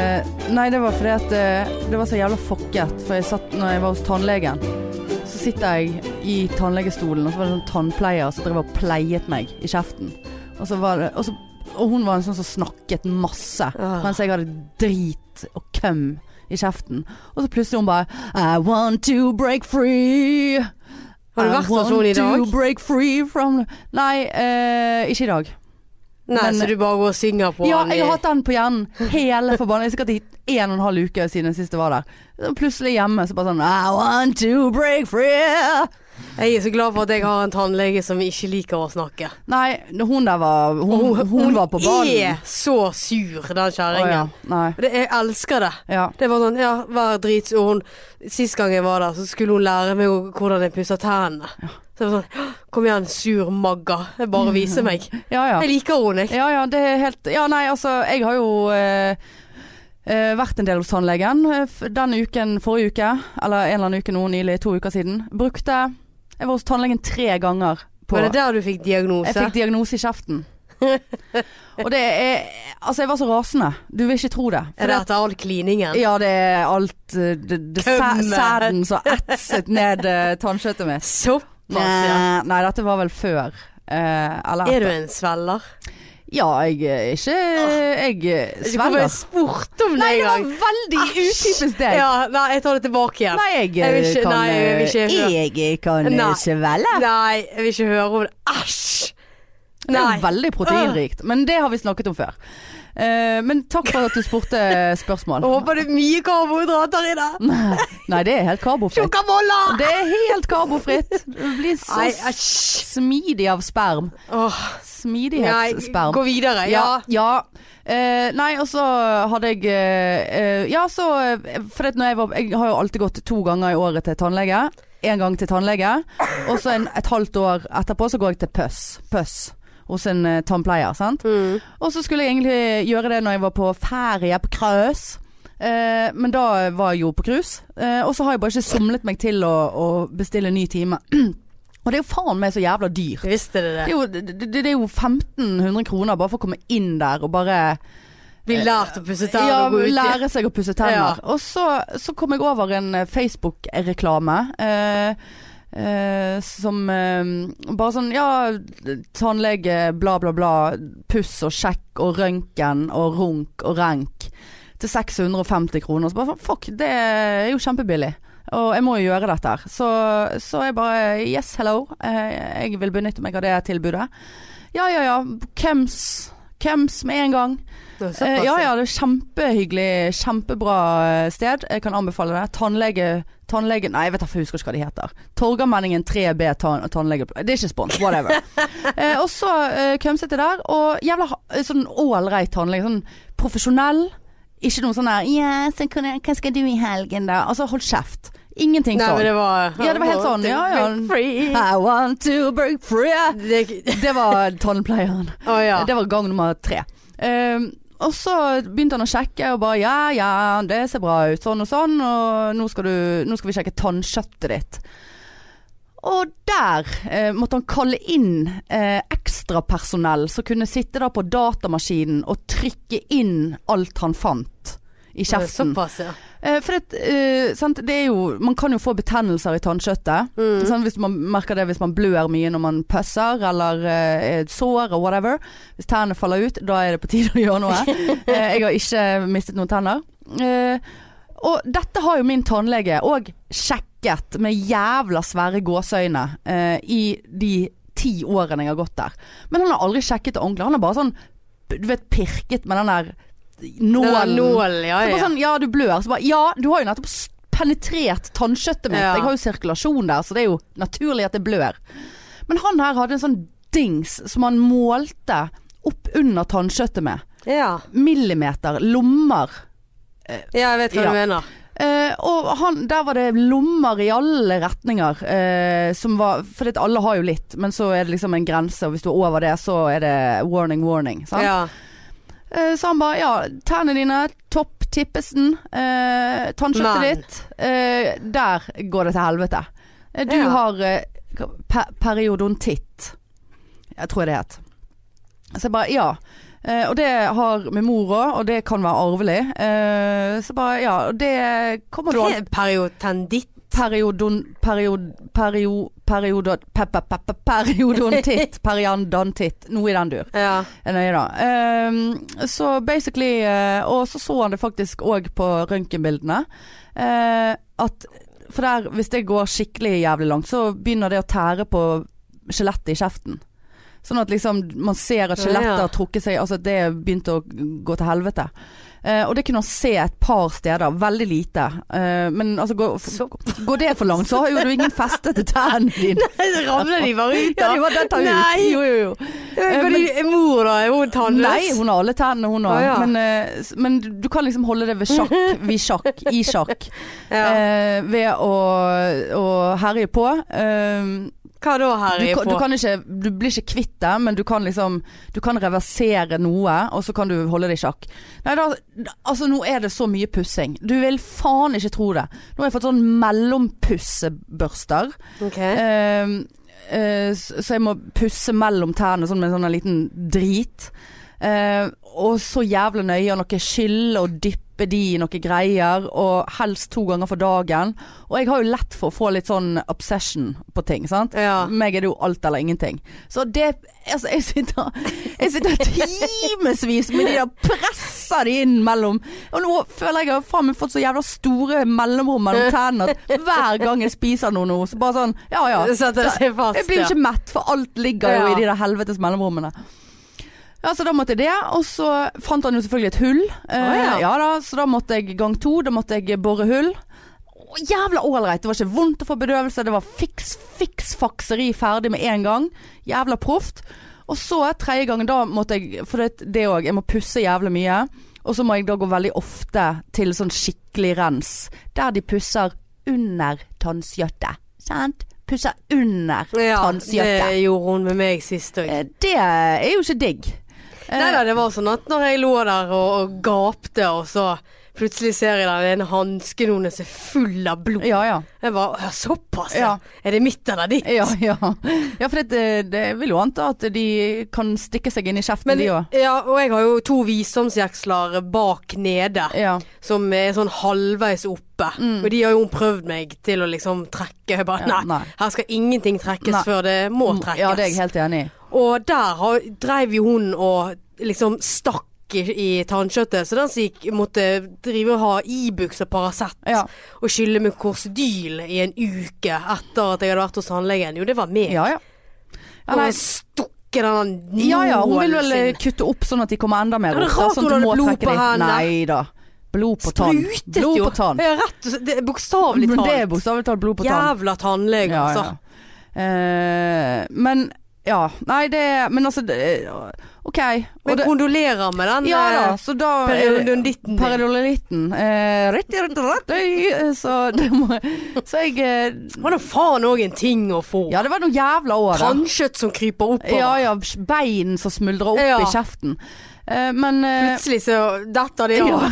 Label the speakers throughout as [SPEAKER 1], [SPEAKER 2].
[SPEAKER 1] Eh, Nei, det var fordi at eh, det var så jævla fucket. For jeg satt når jeg var hos tannlegen. Så sitter jeg i tannlegestolen, og så var det en sånn tannpleier som drev og pleiet meg i kjeften. Og, så var det, og, så, og hun var en sånn som snakket masse,
[SPEAKER 2] Ah.
[SPEAKER 1] mens jeg hadde drit og køm i kjeften. Og så plutselig hun bare I want to break free.
[SPEAKER 2] Har du
[SPEAKER 1] I
[SPEAKER 2] vært hos henne i
[SPEAKER 1] want
[SPEAKER 2] dag?
[SPEAKER 1] to break free from Nei, eh, ikke i dag.
[SPEAKER 2] Nei,
[SPEAKER 1] Men-
[SPEAKER 2] så du bare går og synger på
[SPEAKER 1] Ja,
[SPEAKER 2] han
[SPEAKER 1] jeg har
[SPEAKER 2] i-
[SPEAKER 1] hatt den på hjernen hele forbanna. Jeg har Sikkert i en og en halv uke siden jeg sist var der. Så plutselig hjemme så bare sånn I want to break free.
[SPEAKER 2] Jeg er så glad for at jeg har en tannlege som ikke liker å snakke.
[SPEAKER 1] Nei, hun der var Hun, hun, var på
[SPEAKER 2] er
[SPEAKER 1] banen.
[SPEAKER 2] så sur, den
[SPEAKER 1] Å ja.
[SPEAKER 2] kjerringen.
[SPEAKER 1] Nei.
[SPEAKER 2] Det- Jeg elsker det.
[SPEAKER 1] Ja.
[SPEAKER 2] Det var sånn, ja, vær dritsur. Hun- Sist gang jeg var der, så skulle hun lære meg å- hvordan jeg pusser tennene. Så jeg var sånn, «Hå, kom igjen, sur magga. Jeg bare viser meg.
[SPEAKER 1] ja ja.
[SPEAKER 2] Jeg liker henne, jeg.
[SPEAKER 1] Ja ja, det er helt Ja nei, altså, jeg har jo eh, eh, vært en del hos tannlegen eh, f- denne uken, forrige uke, eller en eller annen uke nå nylig, to uker siden. Brukte Jeg var hos tannlegen tre ganger på
[SPEAKER 2] Var det der du fikk diagnose?
[SPEAKER 1] Jeg fikk diagnose i kjeften. Og det er Altså, jeg var så rasende. Du vil ikke tro det. For
[SPEAKER 2] er det etter all kliningen?
[SPEAKER 1] ja, det er alt eh, Det, det sæ-
[SPEAKER 2] Kømme.
[SPEAKER 1] sæden som etset ned eh, tannkjøttet mitt.
[SPEAKER 2] Såpass, ja.
[SPEAKER 1] Nei, nei, dette var vel før. Eh, eller
[SPEAKER 2] Er du en svelger?
[SPEAKER 1] Ja, jeg er ikke Jeg eh,
[SPEAKER 2] Jeg
[SPEAKER 1] svelger.
[SPEAKER 2] spurt om det
[SPEAKER 1] Nei,
[SPEAKER 2] en
[SPEAKER 1] det var
[SPEAKER 2] gang.
[SPEAKER 1] veldig utypisk deg.
[SPEAKER 2] Ja, nei, jeg tar det tilbake igjen.
[SPEAKER 1] Nei, jeg,
[SPEAKER 2] Jeg vil
[SPEAKER 1] eh,
[SPEAKER 2] ikke-
[SPEAKER 1] kan
[SPEAKER 2] nei, jeg vil ikke
[SPEAKER 1] eh, Jeg kan eh,
[SPEAKER 2] Nei.
[SPEAKER 1] svelle.
[SPEAKER 2] Nei, jeg vil ikke høre om det. Æsj!
[SPEAKER 1] Det er jo
[SPEAKER 2] Nei.
[SPEAKER 1] veldig proteinrikt, men det har vi snakket om før. Eh, men takk for at du spurte eh, spørsmål.
[SPEAKER 2] Jeg håper det er mye karbohydrater i det.
[SPEAKER 1] Nei, det er helt karbofritt.
[SPEAKER 2] Sjokaboller!
[SPEAKER 1] Det er helt karbofritt. Du blir så
[SPEAKER 2] Nei,
[SPEAKER 1] s-
[SPEAKER 2] æsj.
[SPEAKER 1] smidig av sperm.
[SPEAKER 2] Åh, nei,
[SPEAKER 1] Smidighetssperm.
[SPEAKER 2] gå videre.
[SPEAKER 1] Ja.
[SPEAKER 2] Ja.
[SPEAKER 1] ja. Eh, nei, og så hadde jeg eh, eh, Ja, så eh, For at når jeg, var, jeg har jo alltid gått to ganger i året til tannlege. Én gang til tannlege, og så en- et halvt år etterpå så går jeg til pøss. Pøss. Hos en eh, tannpleier, sant.
[SPEAKER 2] Hmm.
[SPEAKER 1] Og så skulle jeg egentlig gjøre det når jeg var på ferie på Krøs. Eh, men da var jeg jo på cruise. Eh, og så har jeg bare ikke somlet meg til å, å bestille ny time. og det er jo faen meg så jævla dyrt.
[SPEAKER 2] Visste
[SPEAKER 1] Det
[SPEAKER 2] dere det?
[SPEAKER 1] er, jo, det, det det er jo 1500 kroner bare for å komme inn der og bare
[SPEAKER 2] Vi lærte å pusse
[SPEAKER 1] Eh,
[SPEAKER 2] tennene
[SPEAKER 1] ja,
[SPEAKER 2] og gå ut igjen.
[SPEAKER 1] lære seg å pusse tenner. Og så, så kom jeg over en eh, Facebook-reklame. eh, eh, som eh, bare sånn Ja, tannlege, bla, bla, bla. Puss og sjekk og røntgen og runk og renk. Til 650 kroner. Så bare sånn, fuck, det er jo kjempebillig. Og jeg må jo gjøre dette her. Så, så jeg bare Yes, hello. Eh, jeg vil benytte meg av det tilbudet. Ja, ja, ja. Kems. Kems med en gang.
[SPEAKER 2] Nå, såpass,
[SPEAKER 1] Eh, ja, ja, det er kjempehyggelig, kjempebra eh, sted. Jeg kan anbefale det. Tannlege, tannlege Nei, jeg vet da for jeg husker ikke hva de heter. Torgallmenningen 3B tann, tannlege... Det er ikke spons, whatever. eh, og så eh, kømset jeg der, og jævla ha- eh, sånn ålreit tannlege. Sånn profesjonell. Ikke noe sånn der Ja, så kan jeg- hva skal du i helgen, da? Altså, hold kjeft. Ingenting
[SPEAKER 2] Nei, men
[SPEAKER 1] sånn.
[SPEAKER 2] det var
[SPEAKER 1] Ja, det var helt sånn, ja, ja.
[SPEAKER 2] Free.
[SPEAKER 1] I want to break free.
[SPEAKER 2] Det,
[SPEAKER 1] Det var tannpleieren.
[SPEAKER 2] å ja.
[SPEAKER 1] Det var gang nummer tre. Ehm, og så begynte han å sjekke og bare ja, ja, det ser bra ut, sånn og sånn, og nå skal, du, nå skal vi sjekke tannkjøttet ditt. Og der eh, måtte han kalle inn eh, ekstrapersonell som kunne sitte da på datamaskinen og trykke inn alt han fant i kjeften.
[SPEAKER 2] Såpass, ja.
[SPEAKER 1] Eh, for det, eh, sant? det er jo Man kan jo få betennelser i tannkjøttet.
[SPEAKER 2] Mm.
[SPEAKER 1] Sant? Hvis man merker det hvis man blør mye når man pøsser, eller eh, er et sår og whatever. Hvis tennene faller ut, da er det på tide å gjøre noe. eh, jeg har ikke mistet noen tenner. Eh, og dette har jo min tannlege òg sjekket med jævla svære gåseøyne eh, i de ti årene jeg har gått der. Men han har aldri sjekket det ordentlig. Han har bare sånn du vet, pirket med den der
[SPEAKER 2] Den der
[SPEAKER 1] nålen.
[SPEAKER 2] nålen, ja,
[SPEAKER 1] Så
[SPEAKER 2] ja.
[SPEAKER 1] bare sånn, ja du blør. Så bare, ja du har jo nettopp s- penetrert tannkjøttet mitt.
[SPEAKER 2] Ja.
[SPEAKER 1] Jeg har jo sirkulasjon der, så det er jo naturlig at det blør. Men han her hadde en sånn dings som han målte opp under tannkjøttet med.
[SPEAKER 2] ja.
[SPEAKER 1] Millimeter, lommer.
[SPEAKER 2] Ja, jeg vet hva
[SPEAKER 1] Ja.
[SPEAKER 2] du mener.
[SPEAKER 1] Eh, og han, der var det lommer i alle retninger. Eh, som var, for det, alle har jo litt, men så er det liksom en grense, og hvis du er over det, så er det warning, warning. Sant?
[SPEAKER 2] Ja.
[SPEAKER 1] Eh, Så han bare ja, tærne dine, topp tippesen, eh, tannkjøttet
[SPEAKER 2] Men.
[SPEAKER 1] ditt. Eh, der går det til helvete. Eh, Du
[SPEAKER 2] Ja.
[SPEAKER 1] har eh, pe periodontitt. Jeg tror det het. Så jeg bare ja. Eh, og det har min mor òg, og det kan være arvelig. Eh, så bare, ja. Og det kommer du
[SPEAKER 2] Hva
[SPEAKER 1] aldri
[SPEAKER 2] er periotenditt?
[SPEAKER 1] Periodon... Period... Period... Periodon... pe- pe- pe- pe- Periodontitt. Periandontitt. Noe i den dur.
[SPEAKER 2] Ja.
[SPEAKER 1] Eh, Nøye, da. Ehm, så basically eh, Og så så han det faktisk òg på røntgenbildene. eh, at For der, hvis det går skikkelig jævlig langt, så begynner det å tære på skjelettet i kjeften. Sånn at liksom man ser at skjelettet
[SPEAKER 2] Ja.
[SPEAKER 1] har trukket seg Altså at det begynte å gå til helvete. Eh, og det kunne han se et par steder. Veldig lite. Eh, men altså går,
[SPEAKER 2] Så-
[SPEAKER 1] går det for langt, så har jo du ingen feste til tærne dine.
[SPEAKER 2] Ramler de bare ut,
[SPEAKER 1] Ja,
[SPEAKER 2] da?
[SPEAKER 1] det var dette
[SPEAKER 2] Nei.
[SPEAKER 1] ut. Jo, jo, jo.
[SPEAKER 2] Eh, Men din mor, da? Er hun tannløs?
[SPEAKER 1] Nei, hun har alle tennene hun òg.
[SPEAKER 2] Å, ja.
[SPEAKER 1] men, eh, s- men du- du kan liksom holde det ved sjakk, vi sjakk, i sjakk.
[SPEAKER 2] ja.
[SPEAKER 1] Eh, ved å, å herje på. Eh,
[SPEAKER 2] Hva da,
[SPEAKER 1] du,
[SPEAKER 2] Harry?
[SPEAKER 1] kan- du
[SPEAKER 2] på?
[SPEAKER 1] kan ikke Du blir ikke kvitt det, men du kan liksom Du kan reversere noe, og så kan du holde det i sjakk. Nei da, da- altså nå er det så mye pussing. Du vil faen ikke tro det. Nå har jeg fått sånn mellompusebørster.
[SPEAKER 2] Ok.
[SPEAKER 1] Eh, eh, s- så jeg må pusse mellom tærne sånn med en sånn liten drit. Eh, og så jævla nøye og noe skylle og dyppe de i noe greier, og helst to ganger for dagen. Og jeg har jo lett for å få litt sånn obsession på ting, sant.
[SPEAKER 2] Ja.
[SPEAKER 1] Meg er det jo alt eller ingenting. Så det Altså, jeg sitter, jeg sitter timevis med de der presser de inn mellom Og nå føler jeg jeg har faen meg fått så jævla store mellomrom mellom tennene at hver gang jeg spiser noe nå, så bare sånn Ja ja.
[SPEAKER 2] Setter det seg fast,
[SPEAKER 1] Jeg blir jo ikke mett, for alt ligger jo
[SPEAKER 2] Ja.
[SPEAKER 1] i de der helvetes mellomrommene. Ja, så da måtte jeg det, og så fant han jo selvfølgelig et hull. Eh,
[SPEAKER 2] Å, ja.
[SPEAKER 1] ja da, så da måtte jeg gang to, da måtte jeg bore hull. Å, Jævla ålreit, det var ikke vondt å få bedøvelse, det var fiks, fiks fakseri ferdig med en gang. Jævla proft. Og så tredje gangen, da måtte jeg, for det, det òg, jeg må pusse jævlig mye. Og så må jeg da gå veldig ofte til sånn skikkelig rens, der de pusser under tannskjøttet. Sant? Pusser under
[SPEAKER 2] ja,
[SPEAKER 1] tannskjøttet.
[SPEAKER 2] det gjorde hun med meg sist òg.
[SPEAKER 1] Eh, Det er jo ikke digg. Eh,
[SPEAKER 2] Nei da, det var sånn at når jeg lå der og, og gapte, og så plutselig ser jeg der det er en hanske noen er så full av blod.
[SPEAKER 1] Ja, ja.
[SPEAKER 2] Jeg bare «Å, Såpass, ja.
[SPEAKER 1] Ja.
[SPEAKER 2] Er det mitt eller ditt?
[SPEAKER 1] Ja, ja. ja for det, det jeg vil jo anta at de kan stikke seg inn i kjeften,
[SPEAKER 2] Men,
[SPEAKER 1] de
[SPEAKER 2] ja,
[SPEAKER 1] òg.
[SPEAKER 2] og jeg har jo to visdomsjeksler bak nede,
[SPEAKER 1] Ja.
[SPEAKER 2] som er sånn halvveis oppe. Og de har jo prøvd meg til å liksom trekke. Jeg bare
[SPEAKER 1] Mm. Ja,
[SPEAKER 2] nei,
[SPEAKER 1] nei.
[SPEAKER 2] her skal ingenting trekkes
[SPEAKER 1] Nei. Mm,
[SPEAKER 2] før det må trekkes.
[SPEAKER 1] ja, det er jeg helt enig i.
[SPEAKER 2] Og der har, drev jo hun og liksom stakk i, i tannkjøttet, så den som gikk, måtte drive og ha Ibux og Paracet
[SPEAKER 1] Ja.
[SPEAKER 2] og skylle med korsedyl i en uke etter at jeg hadde vært hos tannlegen. Jo, det var meg.
[SPEAKER 1] Ja, ja. Ja,
[SPEAKER 2] og
[SPEAKER 1] nei.
[SPEAKER 2] jeg stukket den nålen
[SPEAKER 1] Ja ja, hun vil vel eh,
[SPEAKER 2] sin.
[SPEAKER 1] kutte opp sånn at de kommer enda mer
[SPEAKER 2] Ja, det er
[SPEAKER 1] opp.
[SPEAKER 2] rart
[SPEAKER 1] sånn at
[SPEAKER 2] hun
[SPEAKER 1] du
[SPEAKER 2] hadde
[SPEAKER 1] må
[SPEAKER 2] blod
[SPEAKER 1] trekke
[SPEAKER 2] på
[SPEAKER 1] deg-
[SPEAKER 2] hendene.
[SPEAKER 1] Nei da. Blod på tann.
[SPEAKER 2] Sprutet
[SPEAKER 1] Blod
[SPEAKER 2] jo.
[SPEAKER 1] på tann.
[SPEAKER 2] Ja, rett og slett. Det er Bokstavelig
[SPEAKER 1] Men det er
[SPEAKER 2] talt.
[SPEAKER 1] bokstavelig talt blod på tann.
[SPEAKER 2] Jævla tannlege,
[SPEAKER 1] Ja,
[SPEAKER 2] altså.
[SPEAKER 1] ja. Eh, men ja. Nei, det Men altså det, OK. Og
[SPEAKER 2] Men
[SPEAKER 1] det,
[SPEAKER 2] kondolerer med den
[SPEAKER 1] ja da,
[SPEAKER 2] eh,
[SPEAKER 1] så da
[SPEAKER 2] periodonditten din.
[SPEAKER 1] Periodolitten. Eh, rett, rett, rett, øy, så det må Så jeg eh,
[SPEAKER 2] Var det faen òg en ting å få?
[SPEAKER 1] Ja, det var noe jævla år, da.
[SPEAKER 2] Tannkjøtt som kryper oppover.
[SPEAKER 1] Ja ja, bein som smuldrer opp
[SPEAKER 2] Ja.
[SPEAKER 1] i kjeften. Eh, men eh,
[SPEAKER 2] Plutselig så detter de av.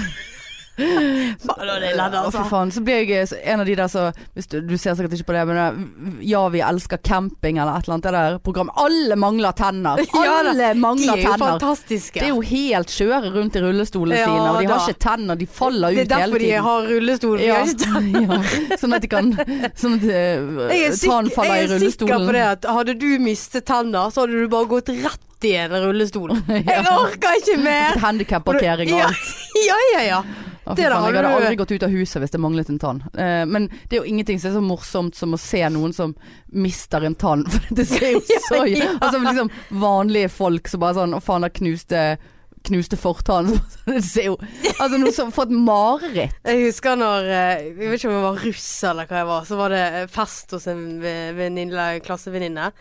[SPEAKER 2] Faen, det er ledd,
[SPEAKER 1] Å,
[SPEAKER 2] altså.
[SPEAKER 1] fy faen. Så blir jeg eh, en av de der som hvis du, du ser sikkert ikke på det, men det er, Ja, vi elsker camping eller et eller annet. Det der programmet. Alle mangler tenner!
[SPEAKER 2] Ja da,
[SPEAKER 1] Alle
[SPEAKER 2] De
[SPEAKER 1] mangler
[SPEAKER 2] er jo
[SPEAKER 1] tenner!
[SPEAKER 2] fantastiske.
[SPEAKER 1] Det er jo helt skjøre rundt i rullestolene
[SPEAKER 2] Ja,
[SPEAKER 1] sine, og de har
[SPEAKER 2] da.
[SPEAKER 1] ikke tenner. De faller ut
[SPEAKER 2] Det er
[SPEAKER 1] hele
[SPEAKER 2] derfor de
[SPEAKER 1] tiden.
[SPEAKER 2] har rullestol.
[SPEAKER 1] Ja.
[SPEAKER 2] Ja.
[SPEAKER 1] ja. Sånn at de kan Sånn at
[SPEAKER 2] Jeg
[SPEAKER 1] eh,
[SPEAKER 2] er,
[SPEAKER 1] tannen
[SPEAKER 2] sikker,
[SPEAKER 1] faller i
[SPEAKER 2] jeg er sikker på
[SPEAKER 1] rullestolen.
[SPEAKER 2] det at hadde du mistet tenner, så hadde du bare gått rett i en rullestol.
[SPEAKER 1] Ja.
[SPEAKER 2] Jeg orker ikke mer!
[SPEAKER 1] Handikapparkering og
[SPEAKER 2] ja,
[SPEAKER 1] alt.
[SPEAKER 2] ja, ja, ja.
[SPEAKER 1] Å, fy
[SPEAKER 2] det der
[SPEAKER 1] faen,
[SPEAKER 2] har
[SPEAKER 1] Jeg hadde
[SPEAKER 2] du-
[SPEAKER 1] aldri gått ut av huset hvis det manglet en tann. Eh, Men det er jo ingenting som er så morsomt som å se noen som mister en tann. For det ser jo så
[SPEAKER 2] Ja.
[SPEAKER 1] Altså liksom vanlige folk som bare sånn Å faen, der knuste Knuste fortannen. Det ser jo Altså noen som har fått mareritt.
[SPEAKER 2] Jeg husker når eh, Jeg vet ikke om jeg var russ eller hva jeg var. Så var det eh, fest hos en ve- venninne- klassevenninne.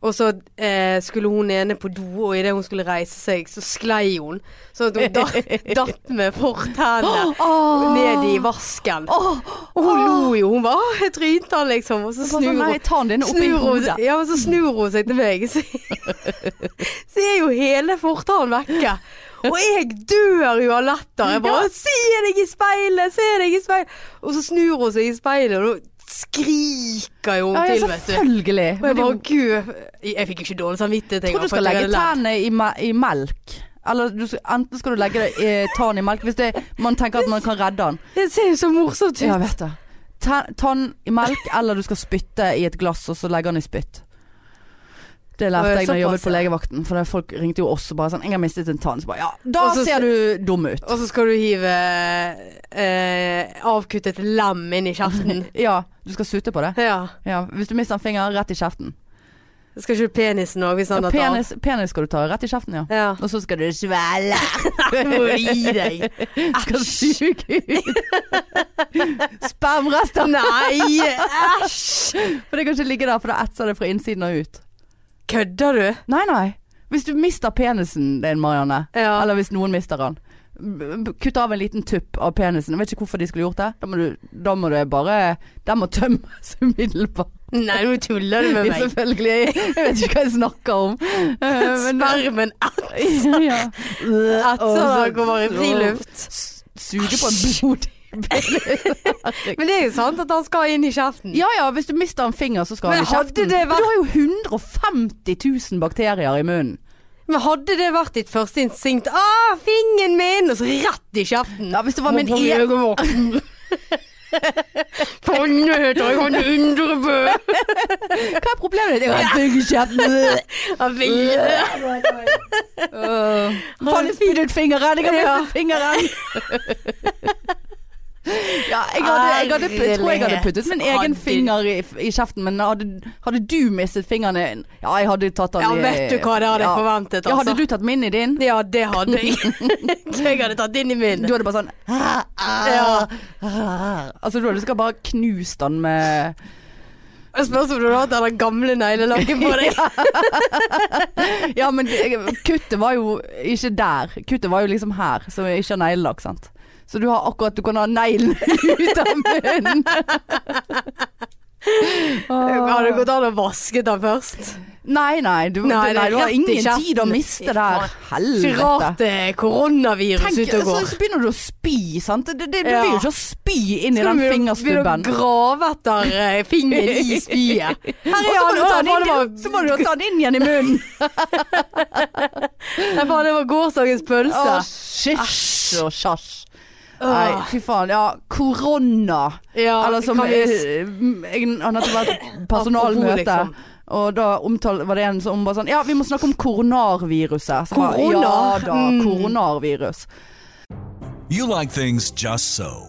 [SPEAKER 2] Og så eh, skulle hun ene på do, og idet hun skulle reise seg, så sklei hun. Sånn at hun datt, datt med fortennene
[SPEAKER 1] Åh.
[SPEAKER 2] ned i vasken.
[SPEAKER 1] Åh.
[SPEAKER 2] Og hun lo jo. Hun bare «Åh, 'Jeg trynte han', liksom. Og så
[SPEAKER 1] Bare sånn,
[SPEAKER 2] snur
[SPEAKER 1] Nei,
[SPEAKER 2] hun
[SPEAKER 1] tannen din er oppi
[SPEAKER 2] Snur hun,
[SPEAKER 1] hodet.
[SPEAKER 2] ja, men så snur hun seg til meg, så, så er jo hele fortannen vekke. Og jeg dør jo av latter. Jeg bare 'Se deg i speilet! Se deg i speilet!' Og så snur hun seg i speilet, og da skriker jo hun
[SPEAKER 1] Ja, ja,
[SPEAKER 2] til, vet du.
[SPEAKER 1] selvfølgelig.
[SPEAKER 2] Og jeg
[SPEAKER 1] Men det er jo-
[SPEAKER 2] bare 'Gud' Jeg fikk jo ikke dårlig samvittighet
[SPEAKER 1] Jeg tror
[SPEAKER 2] engang.
[SPEAKER 1] du skal legge tennene i, me i melk. Eller du, skal- enten skal du legge deg i tann i melk, hvis det, man tenker at man kan redde den.
[SPEAKER 2] Det ser jo så morsomt ut.
[SPEAKER 1] Ja, jeg vet det. Ta- Tann i melk, eller du skal spytte i et glass, og så legger han i spytt. Det lærte
[SPEAKER 2] Oi,
[SPEAKER 1] jeg da jeg jobbet
[SPEAKER 2] såpass,
[SPEAKER 1] på
[SPEAKER 2] ja.
[SPEAKER 1] legevakten. For det, folk ringte jo også bare sånn 'Jeg har mistet en tann.' Så bare ja, da
[SPEAKER 2] Og så-
[SPEAKER 1] ser du dum ut.
[SPEAKER 2] Og så skal du hive eh, avkuttet lem inn i kjeften.
[SPEAKER 1] Ja, du skal sute på det.
[SPEAKER 2] Ja.
[SPEAKER 1] Ja, hvis du mister en finger, rett i kjeften.
[SPEAKER 2] Skal ikke du penisen òg, hvis han
[SPEAKER 1] Ja,
[SPEAKER 2] har tatt?
[SPEAKER 1] penis, penis skal du ta rett i kjeften, ja.
[SPEAKER 2] Ja.
[SPEAKER 1] Og så skal du svelle.
[SPEAKER 2] Må gi deg.
[SPEAKER 1] Skal suge ut spermrester.
[SPEAKER 2] Nei, æsj!
[SPEAKER 1] For det kan ikke ligge der, for da etser det fra innsiden og ut.
[SPEAKER 2] Kødder du?
[SPEAKER 1] Nei, nei. Hvis du mister penisen din, Marianne,
[SPEAKER 2] Ja.
[SPEAKER 1] eller hvis noen mister den, b- b- kutt av en liten tupp av penisen. Jeg vet ikke hvorfor de skulle gjort det. Da må, du, da må det bare Den må tømmes umiddelbart.
[SPEAKER 2] Nei, nå tuller du med meg.
[SPEAKER 1] Selvfølgelig. Jeg vet ikke hva jeg snakker om. Eh, men- eh,
[SPEAKER 2] Spermen
[SPEAKER 1] ja.
[SPEAKER 2] etser deg og bare i friluft.
[SPEAKER 1] Suge på en blod
[SPEAKER 2] Men det er jo sant at han skal inn i kjeften.
[SPEAKER 1] Ja ja, hvis du mister en finger, så skal
[SPEAKER 2] Men
[SPEAKER 1] han i
[SPEAKER 2] hadde
[SPEAKER 1] kjeften.
[SPEAKER 2] det vært-
[SPEAKER 1] Du har jo 150 000 bakterier i munnen.
[SPEAKER 2] Men hadde det vært ditt første instinkt Å, fingeren min! Og så rett i kjeften.
[SPEAKER 1] Ja, hvis det var min e...
[SPEAKER 2] Tannheter, jeg kan undre på
[SPEAKER 1] Hva er problemet ditt? Jeg har en fugl i kjeften. Øh. Faen, jeg spydde ut fingeren. Jeg har
[SPEAKER 2] Ja.
[SPEAKER 1] mistet fingeren. Ja, jeg, hadde, jeg, hadde, jeg tror jeg hadde puttet min egen
[SPEAKER 2] Herlighet.
[SPEAKER 1] finger i, i kjeften, men hadde, hadde du mistet fingeren din Ja, jeg hadde tatt den
[SPEAKER 2] Ja,
[SPEAKER 1] i
[SPEAKER 2] vet du hva, det hadde jeg
[SPEAKER 1] Ja.
[SPEAKER 2] forventet,
[SPEAKER 1] Ja, hadde
[SPEAKER 2] altså.
[SPEAKER 1] du tatt min i din?
[SPEAKER 2] Ja, det hadde jeg. jeg hadde tatt inn i min.
[SPEAKER 1] Du hadde bare sånn
[SPEAKER 2] Ja.
[SPEAKER 1] Altså, du hadde skal bare knust den med
[SPEAKER 2] Jeg spørs om du hadde hatt det gamle neglelakken på deg.
[SPEAKER 1] Ja, men det- kuttet var jo ikke der. Kuttet var jo liksom her, så jeg ikke har neglelakk, sant. Så du har akkurat Du kan ha neglen ut av munnen.
[SPEAKER 2] Hadde det gått an å vaske den først?
[SPEAKER 1] Nei, nei. Du,
[SPEAKER 2] Nei,
[SPEAKER 1] nei, du har
[SPEAKER 2] rett i
[SPEAKER 1] ingen tid å
[SPEAKER 2] kjeften.
[SPEAKER 1] miste der.
[SPEAKER 2] Ikke
[SPEAKER 1] Helvete.
[SPEAKER 2] rart det er koronavirus
[SPEAKER 1] Tenk,
[SPEAKER 2] ute og
[SPEAKER 1] så,
[SPEAKER 2] går.
[SPEAKER 1] så begynner du å spy, sant. Det, det, du
[SPEAKER 2] Ja.
[SPEAKER 1] vil jo ikke å spy inn i
[SPEAKER 2] Skal
[SPEAKER 1] den
[SPEAKER 2] vi-
[SPEAKER 1] fingerstubben.
[SPEAKER 2] Vil du grave etter eh, fingeren i spyet? Her er han,
[SPEAKER 1] og så
[SPEAKER 2] og
[SPEAKER 1] må du ta den inn-
[SPEAKER 2] det
[SPEAKER 1] så må du jo ta den inn igjen i munnen.
[SPEAKER 2] var, faen, det var gårsdagens pølse.
[SPEAKER 1] Å, Æsj og sjasj.
[SPEAKER 2] Åh.
[SPEAKER 1] Nei, fy faen. Ja, korona.
[SPEAKER 2] Ja,
[SPEAKER 1] Eller som
[SPEAKER 2] kan vi-
[SPEAKER 1] eh, jeg, Han hadde vært personalmøte,
[SPEAKER 2] Apropos, liksom.
[SPEAKER 1] og da omtale, var det en som bare sånn Ja, vi må snakke om koronarviruset. Så bare,
[SPEAKER 2] Korona?
[SPEAKER 1] Ja da,
[SPEAKER 2] Mm.
[SPEAKER 1] koronavirus.
[SPEAKER 3] You like things just so.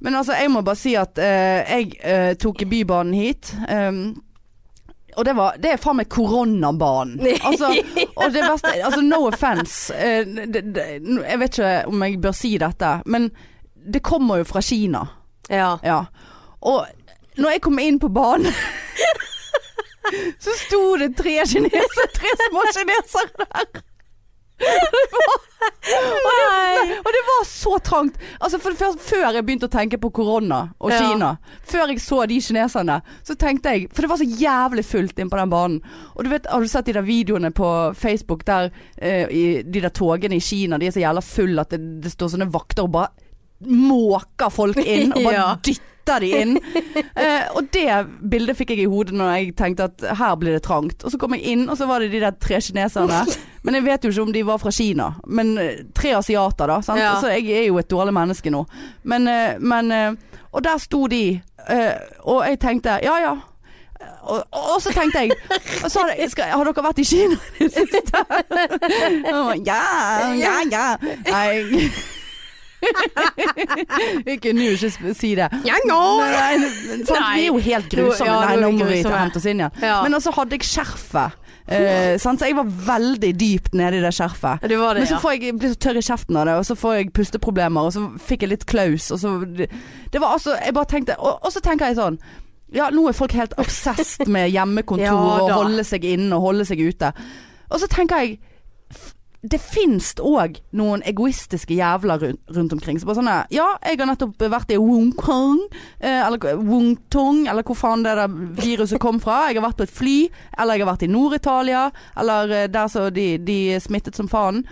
[SPEAKER 1] Men altså, jeg må bare si at eh, jeg eh, tok Bybanen hit. ehm, og det, var, det er faen meg koronabanen. Altså, og det verste Altså, no eh, offence. jeg vet ikke om jeg bør si dette, men det kommer jo fra Kina.
[SPEAKER 2] Ja.
[SPEAKER 1] Ja. Og når jeg kom inn på banen Så sto det tre kinesere, tre små kinesere
[SPEAKER 2] Nei.
[SPEAKER 1] Og det var så trangt. Altså for det første, Før jeg begynte å tenke på korona og
[SPEAKER 2] Ja.
[SPEAKER 1] Kina, før jeg så de kineserne, så tenkte jeg For det var så jævlig fullt inn på den banen. Og du vet, Har du sett de der videoene på Facebook der eh, i, de der togene i Kina de er så jævla fulle at det, det står sånne vakter og bare måker folk inn? Og bare
[SPEAKER 2] Ja.
[SPEAKER 1] dytter de inn. Eh, og det bildet fikk jeg i hodet når jeg tenkte at her blir det trangt. Og så kom jeg inn, og så var det de der tre kineserne. Men jeg vet jo ikke om de var fra Kina. Men eh, tre asiater, da. Sant?
[SPEAKER 2] Ja.
[SPEAKER 1] Så jeg er jo et dårlig menneske nå. Men, eh, men eh, Og der sto de, eh, og jeg tenkte ja ja. Og, og så tenkte jeg og så hadde, jeg- skal, Har dere vært i Kina i det siste? Og jeg bare, Ja, ja, ja. Nei. Vi kunne jo ikke sp- si det.
[SPEAKER 2] Ja, nå.
[SPEAKER 1] Nei, nei, sant?
[SPEAKER 2] Nei.
[SPEAKER 1] Vi er jo helt grusomme.
[SPEAKER 2] Ja,
[SPEAKER 1] Nei,
[SPEAKER 2] nå
[SPEAKER 1] nå
[SPEAKER 2] er vi
[SPEAKER 1] må vi ta-
[SPEAKER 2] grusomme.
[SPEAKER 1] hente oss inn igjen.
[SPEAKER 2] Ja.
[SPEAKER 1] Men altså hadde jeg skjerfet. eh, sant? Så jeg var veldig dypt nede i det skjerfet.
[SPEAKER 2] Ja, du var det,
[SPEAKER 1] Men så
[SPEAKER 2] ja.
[SPEAKER 1] får jeg, jeg blir så tørr i kjeften av det, og så får jeg pusteproblemer, og så fikk jeg litt klaus, og så Det det var altså Jeg bare tenkte Og, og så tenker jeg sånn Ja, nå er folk helt obsessed med hjemmekontor
[SPEAKER 2] Ja,
[SPEAKER 1] og
[SPEAKER 2] da.
[SPEAKER 1] holde seg inne og holde seg ute. Og så tenker jeg det fins òg noen egoistiske jævler rundt, rundt omkring. Så bare sånn Ja, jeg har nettopp vært i Wongkong, eh, eller Wongtong, eller hvor faen det der viruset kom fra. Jeg har vært på et fly, eller jeg har vært i Nord-Italia, eller eh, der så de, de er smittet som faen.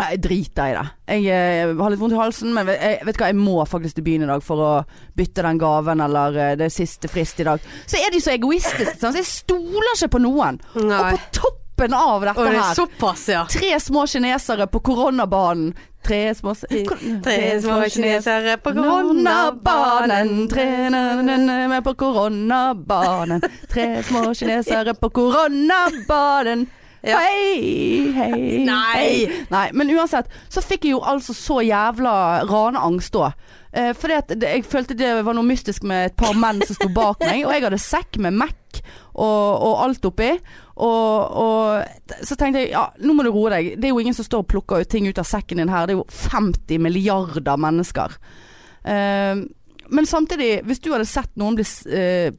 [SPEAKER 1] Nei, Jeg driter i det. Jeg, eh, har litt vondt i halsen, men jeg, jeg vet hva, jeg må faktisk til byen i dag for å bytte den gaven, eller eh, det er siste frist i dag. Så er de så egoistiske, sant? så jeg stoler ikke på noen.
[SPEAKER 2] Nei.
[SPEAKER 1] Og på toppen av dette
[SPEAKER 2] Og det er
[SPEAKER 1] her
[SPEAKER 2] såpass, ja.
[SPEAKER 1] Tre små kinesere på koronabanen. Tre små
[SPEAKER 2] Tre små kinesere på
[SPEAKER 1] Koronabanen,
[SPEAKER 2] koronabanen.
[SPEAKER 1] tre na-na-na med på koronabanen. Tre små kinesere på koronabanen.
[SPEAKER 2] Ja.
[SPEAKER 1] Hei, hei
[SPEAKER 2] Nei.
[SPEAKER 1] hei. Nei, Men uansett, så fikk jeg jo altså så jævla raneangst da. Eh, fordi at det, jeg følte det var noe mystisk med et par menn som sto bak meg. Og jeg hadde sekk med Mac og, og alt oppi. Og, og så tenkte jeg ja, nå må du roe deg. Det er jo ingen som står og plukker ut ting ut av sekken din her. Det er jo 50 milliarder mennesker. Eh, men samtidig, hvis du hadde sett noen bli s- eh,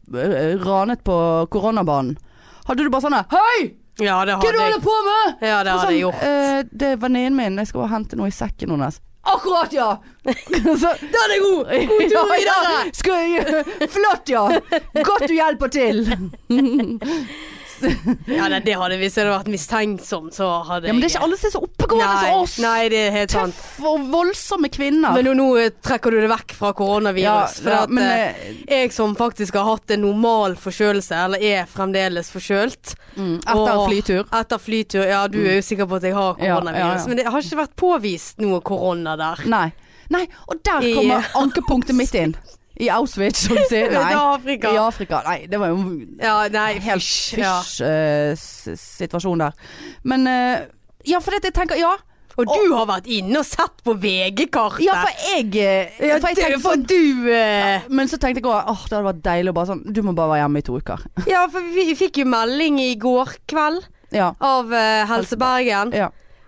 [SPEAKER 1] ranet på koronabanen, hadde du bare sånn her, Hei!
[SPEAKER 2] Ja, det
[SPEAKER 1] Hva er det
[SPEAKER 2] hadde
[SPEAKER 1] du
[SPEAKER 2] jeg.
[SPEAKER 1] holder på med?
[SPEAKER 2] Ja, det hadde jeg
[SPEAKER 1] Sånn,
[SPEAKER 2] gjort.
[SPEAKER 1] eh, det er venninnen min, jeg skal bare hente noe i sekken hennes. Akkurat, ja! Så,
[SPEAKER 2] Da er det god! God tur videre!
[SPEAKER 1] Skal jeg, flott, ja! Godt du hjelper til!
[SPEAKER 2] Ja, nei, det hadde Hvis jeg hadde vært mistenksom, så
[SPEAKER 1] Ja,
[SPEAKER 2] hadde jeg
[SPEAKER 1] men det er ikke alle som er så oppegående
[SPEAKER 2] Nei,
[SPEAKER 1] som oss.
[SPEAKER 2] Nei, det er helt sant.
[SPEAKER 1] Tøff og voldsomme kvinner.
[SPEAKER 2] Men nå, nå trekker du det vekk fra koronavirus.
[SPEAKER 1] Ja,
[SPEAKER 2] for
[SPEAKER 1] ja,
[SPEAKER 2] at,
[SPEAKER 1] men,
[SPEAKER 2] eh, jeg som faktisk har hatt en normal forkjølelse, eller er fremdeles forkjølt
[SPEAKER 1] Mm, etter en
[SPEAKER 2] og-
[SPEAKER 1] flytur. Mm.
[SPEAKER 2] Etter flytur, ja. Du er jo sikker på at jeg har
[SPEAKER 1] Ja,
[SPEAKER 2] koronavirus.
[SPEAKER 1] ja, ja.
[SPEAKER 2] Men det har ikke vært påvist noe korona der.
[SPEAKER 1] Nei. Nei, og der
[SPEAKER 2] I-
[SPEAKER 1] kommer ankepunktet mitt inn. I Auschwitz, som du sier. Nei.
[SPEAKER 2] I Afrika.
[SPEAKER 1] I Afrika. Nei, det var jo eh,
[SPEAKER 2] Ja, nei,
[SPEAKER 1] helt
[SPEAKER 2] fysj, ja.
[SPEAKER 1] fysj-situasjon der. Men eh, Ja, for jeg tenker Ja,
[SPEAKER 2] Og du har vært inne og sett på VG-kartet.
[SPEAKER 1] ja for jeg, eh,
[SPEAKER 2] Ja,
[SPEAKER 1] for jeg
[SPEAKER 2] det-
[SPEAKER 1] tenkte
[SPEAKER 2] for
[SPEAKER 1] sånn
[SPEAKER 2] du eh,
[SPEAKER 1] Men så tenkte jeg òg åh, det hadde vært deilig å bare sånn Du må bare være hjemme i to uker.
[SPEAKER 2] Ja, for vi fikk jo melding i går kveld
[SPEAKER 1] Ja.
[SPEAKER 2] av eh, Helse Bergen
[SPEAKER 1] ja.